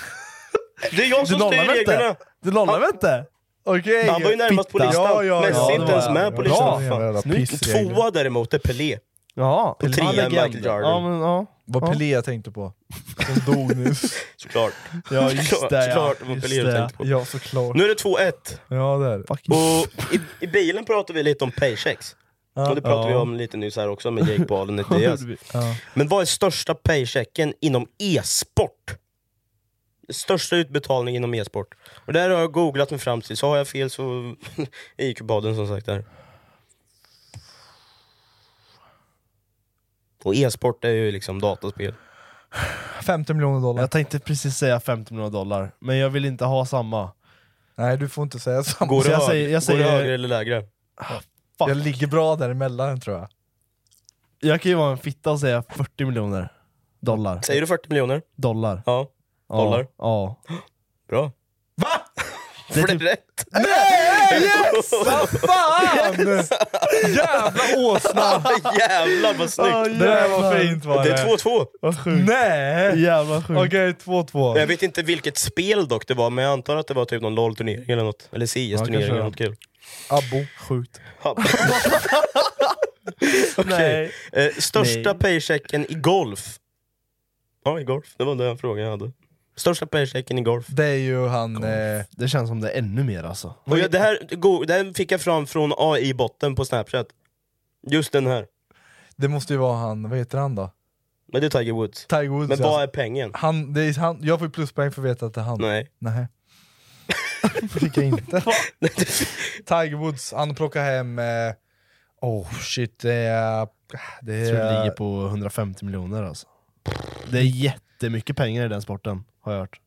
S5: Det är jag
S4: Du
S5: som styr
S4: nollar väl
S5: reglerna.
S4: inte? Du nollar väl inte? Okej,
S5: Han var ju närmast på
S4: fitta.
S5: listan. Messi
S4: det
S5: är inte
S4: var
S5: ens
S4: jag.
S5: med på
S4: Bra,
S5: listan.
S4: fan.
S5: Fan.
S4: Snyggt.
S5: Snyggt. Tvåa däremot är Pelé.
S4: Ja,
S5: Och trea är
S4: legend.
S5: Michael Jordan.
S4: Ja, men, ja.
S3: Vad
S4: ja.
S3: Pelé jag tänkte på. Som dog nyss.
S5: Såklart.
S4: *laughs* Ja, just det, ja.
S5: Såklart, det var Pelé du
S4: Just det.
S5: tänkte
S3: *laughs*
S5: på.
S3: Ja, såklart.
S5: Nu är det 2-1.
S3: Ja, det är det.
S5: Och i, i bilen pratar vi lite om paychecks.
S3: Ja.
S5: och det pratade vi
S3: Ja.
S5: om lite nyss här också med Jake Paul
S4: *laughs*
S5: och Nick Diaz.
S3: Ja.
S5: Men vad är största paychecken inom e-sport? Största utbetalning inom e-sport. Och där har jag googlat mig fram till, så har jag fel så *laughs* IQ-baden som sagt där. Och e-sport är ju liksom dataspel.
S3: 50 miljoner dollar.
S4: Jag tänkte precis säga 50 miljoner dollar, men jag vill inte ha samma.
S3: Nej, du får inte säga samma.
S5: Går
S4: Så
S5: det,
S4: jag
S5: hög,
S4: säger- jag
S5: Går det
S4: säger-
S5: högre eller lägre?
S4: Fuck.
S3: Jag ligger bra däremellan tror
S5: *laughs*
S3: jag.
S4: Jag kan ju vara en fitta och säga 40 miljoner dollar.
S5: Säger du 40 miljoner?
S4: Dollar.
S5: Ja.
S4: Ja,
S5: Dollar?
S4: Ja.
S5: Bra. *laughs*
S4: Det är
S5: Får det
S4: typ
S5: rätt?
S3: Nej! Yes! Vad fan! Jävla åsna!
S5: Jävlar vad snyggt!
S4: Ah,
S3: Det där var fint var
S5: det
S3: det.
S5: är 2-2.
S4: Vad sjukt.
S3: Nej!
S4: Jävla sjukt.
S3: Okej,
S5: Jag
S3: 2-2.
S5: vet inte vilket spel dock det var, men jag antar att det var typ någon LOL-turnering eller något. Eller CS-turnering
S4: kanske
S5: eller
S4: det.
S5: något kul.
S3: Abbo. Sjukt.
S5: Ja. *laughs*
S4: Nej.
S5: Eh, största paychecken i golf? Ja, i golf. Det var den frågan jag hade. Största paychecken i golf.
S3: Det är ju han... Eh,
S4: Det känns som det är ännu mer alltså.
S5: Och jag, det, här, go- det här fick jag fram från AI-botten på Snapchat. Just den här.
S3: det måste ju vara han, vad heter han då?
S5: Men det är Tiger Woods.
S3: Tiger Woods.
S5: Men
S3: ja.
S5: vad är pengen?
S3: han, det är han, jag får ju pluspoäng för att veta att det är han.
S5: Nej. *laughs*
S3: Nej. fick jag
S4: *laughs*
S3: inte. Tiger Woods, han plockar hem... Eh, oh shit, det är... Det
S4: Jag tror det
S3: är
S4: ligger på 150 miljoner alltså. Det är jättemycket pengar i den sporten, har jag hört.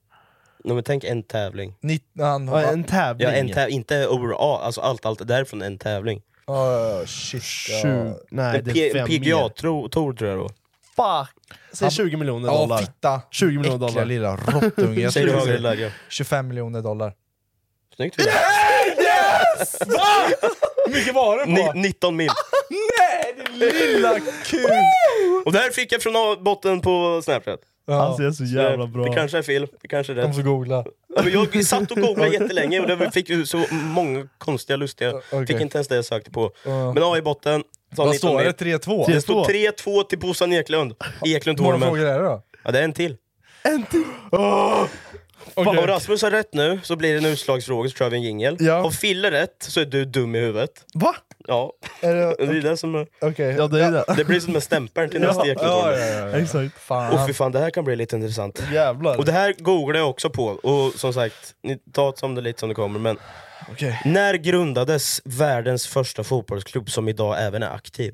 S5: Nej, men tänk en tävling.
S3: 19, han,
S4: Ja, en tävling.
S5: Ja, en täv- inte overall, alltså allt, allt därifrån en tävling.
S3: oh, shit, ja.
S4: 20, nej,
S5: en
S4: det är
S5: P-
S4: fem
S5: PGA
S4: mer.
S5: tror tror jag då.
S4: Fuck! Säg 20 miljoner
S3: Ja,
S4: dollar.
S3: fitta.
S4: 20 miljoner
S3: Äckliga
S4: dollar.
S3: lilla råttunge. Jag
S5: Säger
S3: skulle
S5: du högre eller
S3: säga
S5: lägre?
S3: 25 miljoner dollar. *laughs*
S5: Snyggt William.
S3: Hur mycket var det
S5: Ni- 19 mil.
S3: *laughs* Nej, din lilla kuk!
S5: Och det här fick jag från A- botten på Snapchat.
S4: Han
S3: Ja,
S4: ser så jävla
S5: Det-
S4: bra
S5: Det kanske är fel, det kanske är
S3: de
S5: rätt.
S3: får googla.
S5: Ja, men Jag satt
S3: *laughs*
S5: och googlade jättelänge och det fick ju så många konstiga, lustiga...
S3: okej.
S5: Fick inte ens det jag sökte på.
S3: Ja.
S5: Men A i botten. sa
S3: Vad
S5: 19
S3: står
S5: mil.
S3: det? 3-2?
S5: Det stod 3-2 till
S3: *laughs*
S5: Bosan Eklund. Eklund
S3: Hur många frågor
S5: Tournament.
S3: är det då?
S5: Ja, det är en till.
S3: Okej.
S5: Om Rasmus har rätt nu så blir det en utslagsfråga så kör vi en jingel.
S3: Ja.
S5: Om Fille rätt så är du dum i huvudet.
S3: Va?
S5: Ja,
S3: Är det...
S5: det är det som... är-
S3: Okej.
S4: Ja, det är det.
S5: Det blir som en stämpel till nästa
S3: Ja,
S5: Eklund
S3: ja,
S5: Tournament.
S3: ja, ja.
S4: Exakt.
S5: Och
S3: Fan.
S5: fy fan, det här kan bli lite intressant.
S4: Jävlar.
S5: Och det här googlar jag också på, och som sagt, ni tar det som det lite som det kommer. Men
S3: Okej.
S5: När grundades världens första fotbollsklubb som idag även är aktiv?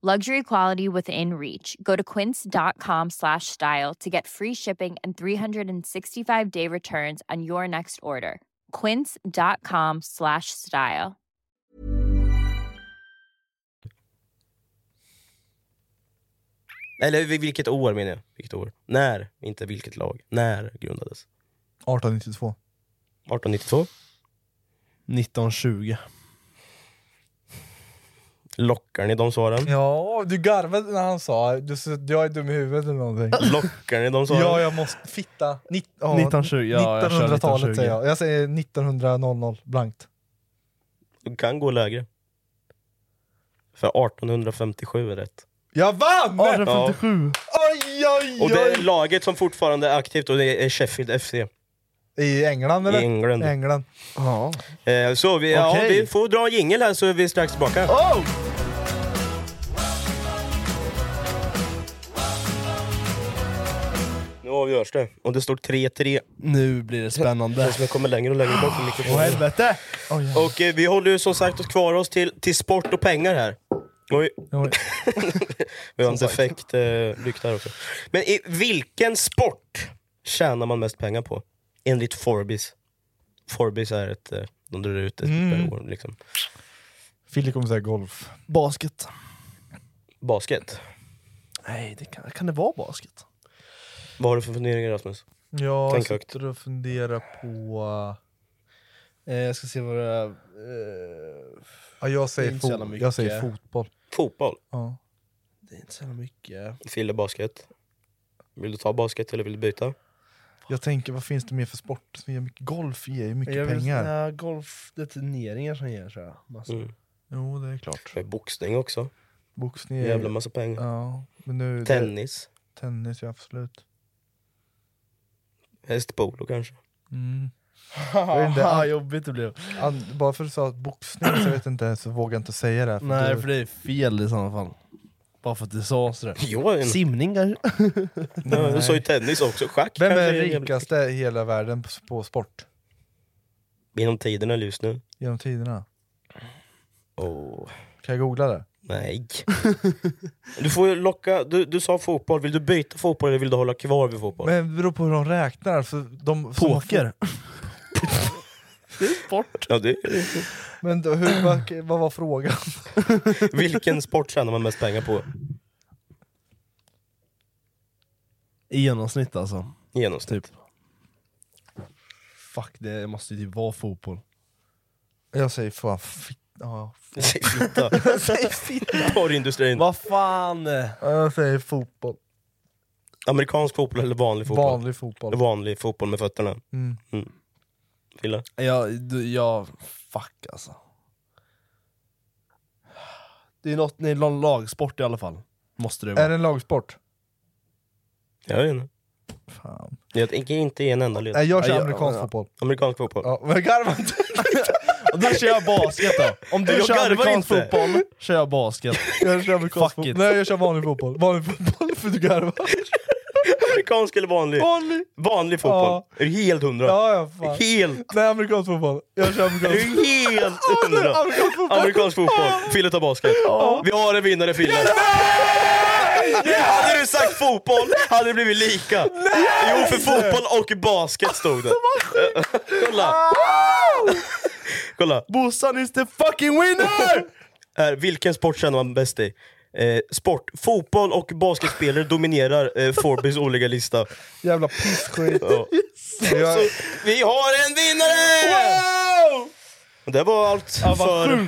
S8: luxury quality within reach go to quince.com slash style to get free shipping and 365 day returns on your next order quince.com slash style
S5: Eller vil- vilket år menar jag? Vilket år? När? Inte vilket lag. När grundades?
S3: 1892.
S5: 1892?
S4: 1920.
S5: Lockar ni de svaren?
S3: Ja, du garvade när han sa du, s- jag är dum i huvudet eller någonting.
S5: Lockar ni de svaren?
S3: ja, jag måste... Fitta. Nitt, ja,
S4: 1920, ja, jag kör
S3: 1900-talet
S4: 1920.
S3: säger jag. Jag säger 1900 blankt.
S5: Du kan gå lägre. För 1857 är rätt.
S3: Jag vann!
S5: 1857.
S3: Oj, oj,
S5: Och
S3: oj!
S5: det är laget som fortfarande är aktivt och det är Sheffield FC.
S3: I England eller?
S5: I England.
S3: England. Ja.
S5: Eh, Så vi, ja,
S3: Okej.
S5: vi får dra en jingel här så är vi strax tillbaka.
S4: Oh!
S5: Nu avgörs det. Och det står 3-3.
S4: Nu blir det spännande.
S5: Det som kommer längre och längre bort från mikrofonen.
S4: Åh helvete!
S5: Och eh, vi håller ju som sagt oss kvar oss till, till sport och pengar här. Oj. *laughs* vi har en defekt eh, lykta här också. Men i vilken sport tjänar man mest pengar på? Enligt Forbes. Forbes är ett... Eh, de drar ut ett
S3: Mm.
S5: per år liksom.
S3: Fille kommer säga golf.
S4: Basket.
S5: Basket.
S4: Nej, det kan, kan det vara basket?
S5: Vad har du för funderingar Rasmus?
S3: Jag
S5: Tänk högt.
S3: sitter och funderar på...
S4: Eh, jag ska se vad det är. Eh,
S3: Ja, jag,
S4: det är
S3: säger
S4: inte så jävla
S3: fo- jag
S4: mycket.
S3: säger fotboll.
S5: Fotboll.
S3: Ja.
S4: Det är inte så jävla mycket.
S5: Fille basket. Vill du ta basket eller vill du byta?
S3: Jag tänker, vad finns det mer för sport som ger mycket? Golf ger ju mycket
S4: Jag vill-
S3: pengar.
S4: Nej, golf, det är turneringar som ger tror jag. Massa.
S5: Mm.
S3: Jo, det är klart.
S5: Med boxning också.
S3: Boxning är-
S5: Jävla massa pengar.
S3: Ja, men nu...
S5: Tennis.
S3: Det, tennis, ja absolut.
S5: Hästpolo kanske.
S3: Mm.
S4: Jag
S3: vet inte, an-
S4: jobbigt det blev.
S3: an, bara för att du sa att boxning så, vet jag inte, så vågar jag inte säga det. här,
S4: Nej,
S3: du-
S4: för det är fel i sådana fall. Bara för att du sa sådär.
S5: Jo, en-
S4: Simning kanske?
S5: Ja, Du sa ju tennis också. Schack
S3: Vem
S5: kanske
S3: är
S5: en jävla-
S3: rikaste i hela världen på, på sport?
S5: Genom tiderna eller just nu?
S3: Genom tiderna?
S5: Åh,
S3: Kan jag googla det?
S5: nej. *laughs* Du får ju locka, du, du sa fotboll, vill du byta fotboll eller vill du hålla kvar vid fotboll?
S3: Men det beror på hur de räknar. För de som har
S4: Poker?
S3: det är sport.
S5: Ja, det,
S3: Men då, hur, vad, vad var frågan? *laughs*
S5: vilken sport tjänar man mest pengar på
S4: I genomsnitt alltså.
S5: i genomsnitt?
S3: Typ.
S4: Fuck, det måste ju typ vara fotboll.
S3: Jag säger fan fitt... Ja, fot-
S5: *laughs* Säg fitta. Porrindustrin.
S4: Vad fan! eh,
S3: jag säger fotboll.
S5: Amerikansk fotboll eller vanlig fotboll?
S3: Vanlig fotboll.
S5: Vanlig fotboll med fötterna.
S3: Mm.
S5: Mm. Fille?
S4: Jag, du, jag, fuck alltså. Det är, något, det är någon lagsport i alla fall. Måste det vara.
S3: Är det en lagsport?
S5: Jag vet inte.
S3: Fan.
S5: Jag tänker inte ge en enda
S3: Nej,
S5: ledtråd.
S3: jag kör
S4: Ja, jag-
S3: amerikansk
S4: ja.
S3: fotboll.
S5: Amerikansk fotboll.
S3: Ja, men garva inte!
S4: Och då kör jag basket då. Om du
S5: Jag
S4: kör
S5: garvar
S4: amerikansk
S5: inte.
S4: fotboll, kör jag basket.
S3: Jag kör amerikansk
S4: Fuck
S3: fotboll.
S4: it.
S3: Nej, jag kör vanlig fotboll. Vanlig fotboll för du garvar.
S5: Amerikansk eller vanlig?
S3: Vanlig!
S5: Vanlig fotboll.
S3: Ja.
S5: Är du helt hundra?
S3: Ja, ja,
S5: *laughs*
S3: fan. *laughs*
S5: Helt,
S3: Nej, amerikansk fotboll. Jag kör
S5: är
S3: amerikansk
S5: du helt hundra?
S3: Amerikansk fotboll!
S5: Amerikansk fotboll. Fille tar basket. Vi har en vinnare Fille. Hade du sagt fotboll hade det blivit lika. Jo, för fotboll och basket stod
S3: Alltså,
S5: det. Eh, Kolla. Kolla.
S4: *laughs* Bossan is the fucking winner!
S5: Här, vilken sport känner man bäst i? Eh, sport. Fotboll och basketspelare dominerar eh, Forbes olika lista.
S3: Jävla pissskit. *laughs* Alltså,
S5: Ja.
S3: Jag,
S5: Vi har en vinnare! Och Det var allt för...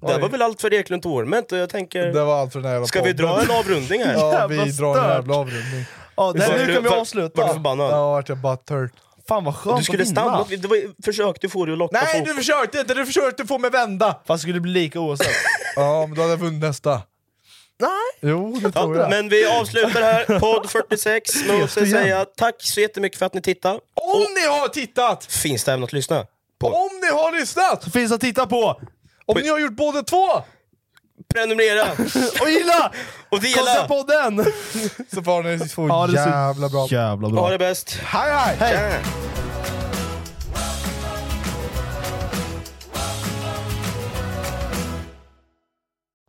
S5: Det var väl allt för Eklund Torment. och Jag
S3: det
S5: tänker...
S3: var allt för den här jävla
S5: Ska vi dra
S3: podden.
S5: en avrundning här?
S3: *laughs* Ja,
S4: Jävla
S3: vi drar en
S4: stört.
S3: jävla avrundning.
S4: Ja, det
S5: Var
S4: här,
S5: du-
S4: nu kan vi
S5: var-
S4: avsluta.
S5: Var du förbannad?
S3: Ja, vart jag bara tört.
S4: Fan vad skönt
S5: Du skulle
S4: att vinna.
S5: stanna, Alltså- det var, försökte få dig att locka
S3: Nej,
S5: folk.
S3: du försökte inte! Du försökte få mig vända!
S4: Fast skulle det bli lika oavsett.
S3: Ja, men då hade jag vunnit nästa.
S4: Nej!
S3: Jo, det tror
S5: Ja,
S3: jag.
S5: men vi avslutar här, podd 46.
S3: *laughs*
S5: Men måste
S3: igen.
S5: säga tack så jättemycket för att ni tittade.
S3: Om ni har tittat!
S5: Finns det även att lyssna? På.
S3: Om ni har lyssnat!
S4: Finns att titta på!
S3: Om ni har gjort båda två!
S5: Prenumerera
S3: *laughs*
S4: Och gilla!
S5: och
S4: Kolla
S5: dela!
S4: på den!
S3: Så *laughs* får ni få
S4: Ja, det är så
S3: jävla bra.
S4: Jävla
S5: Ha det bäst!
S3: Hej hej!
S5: Tja.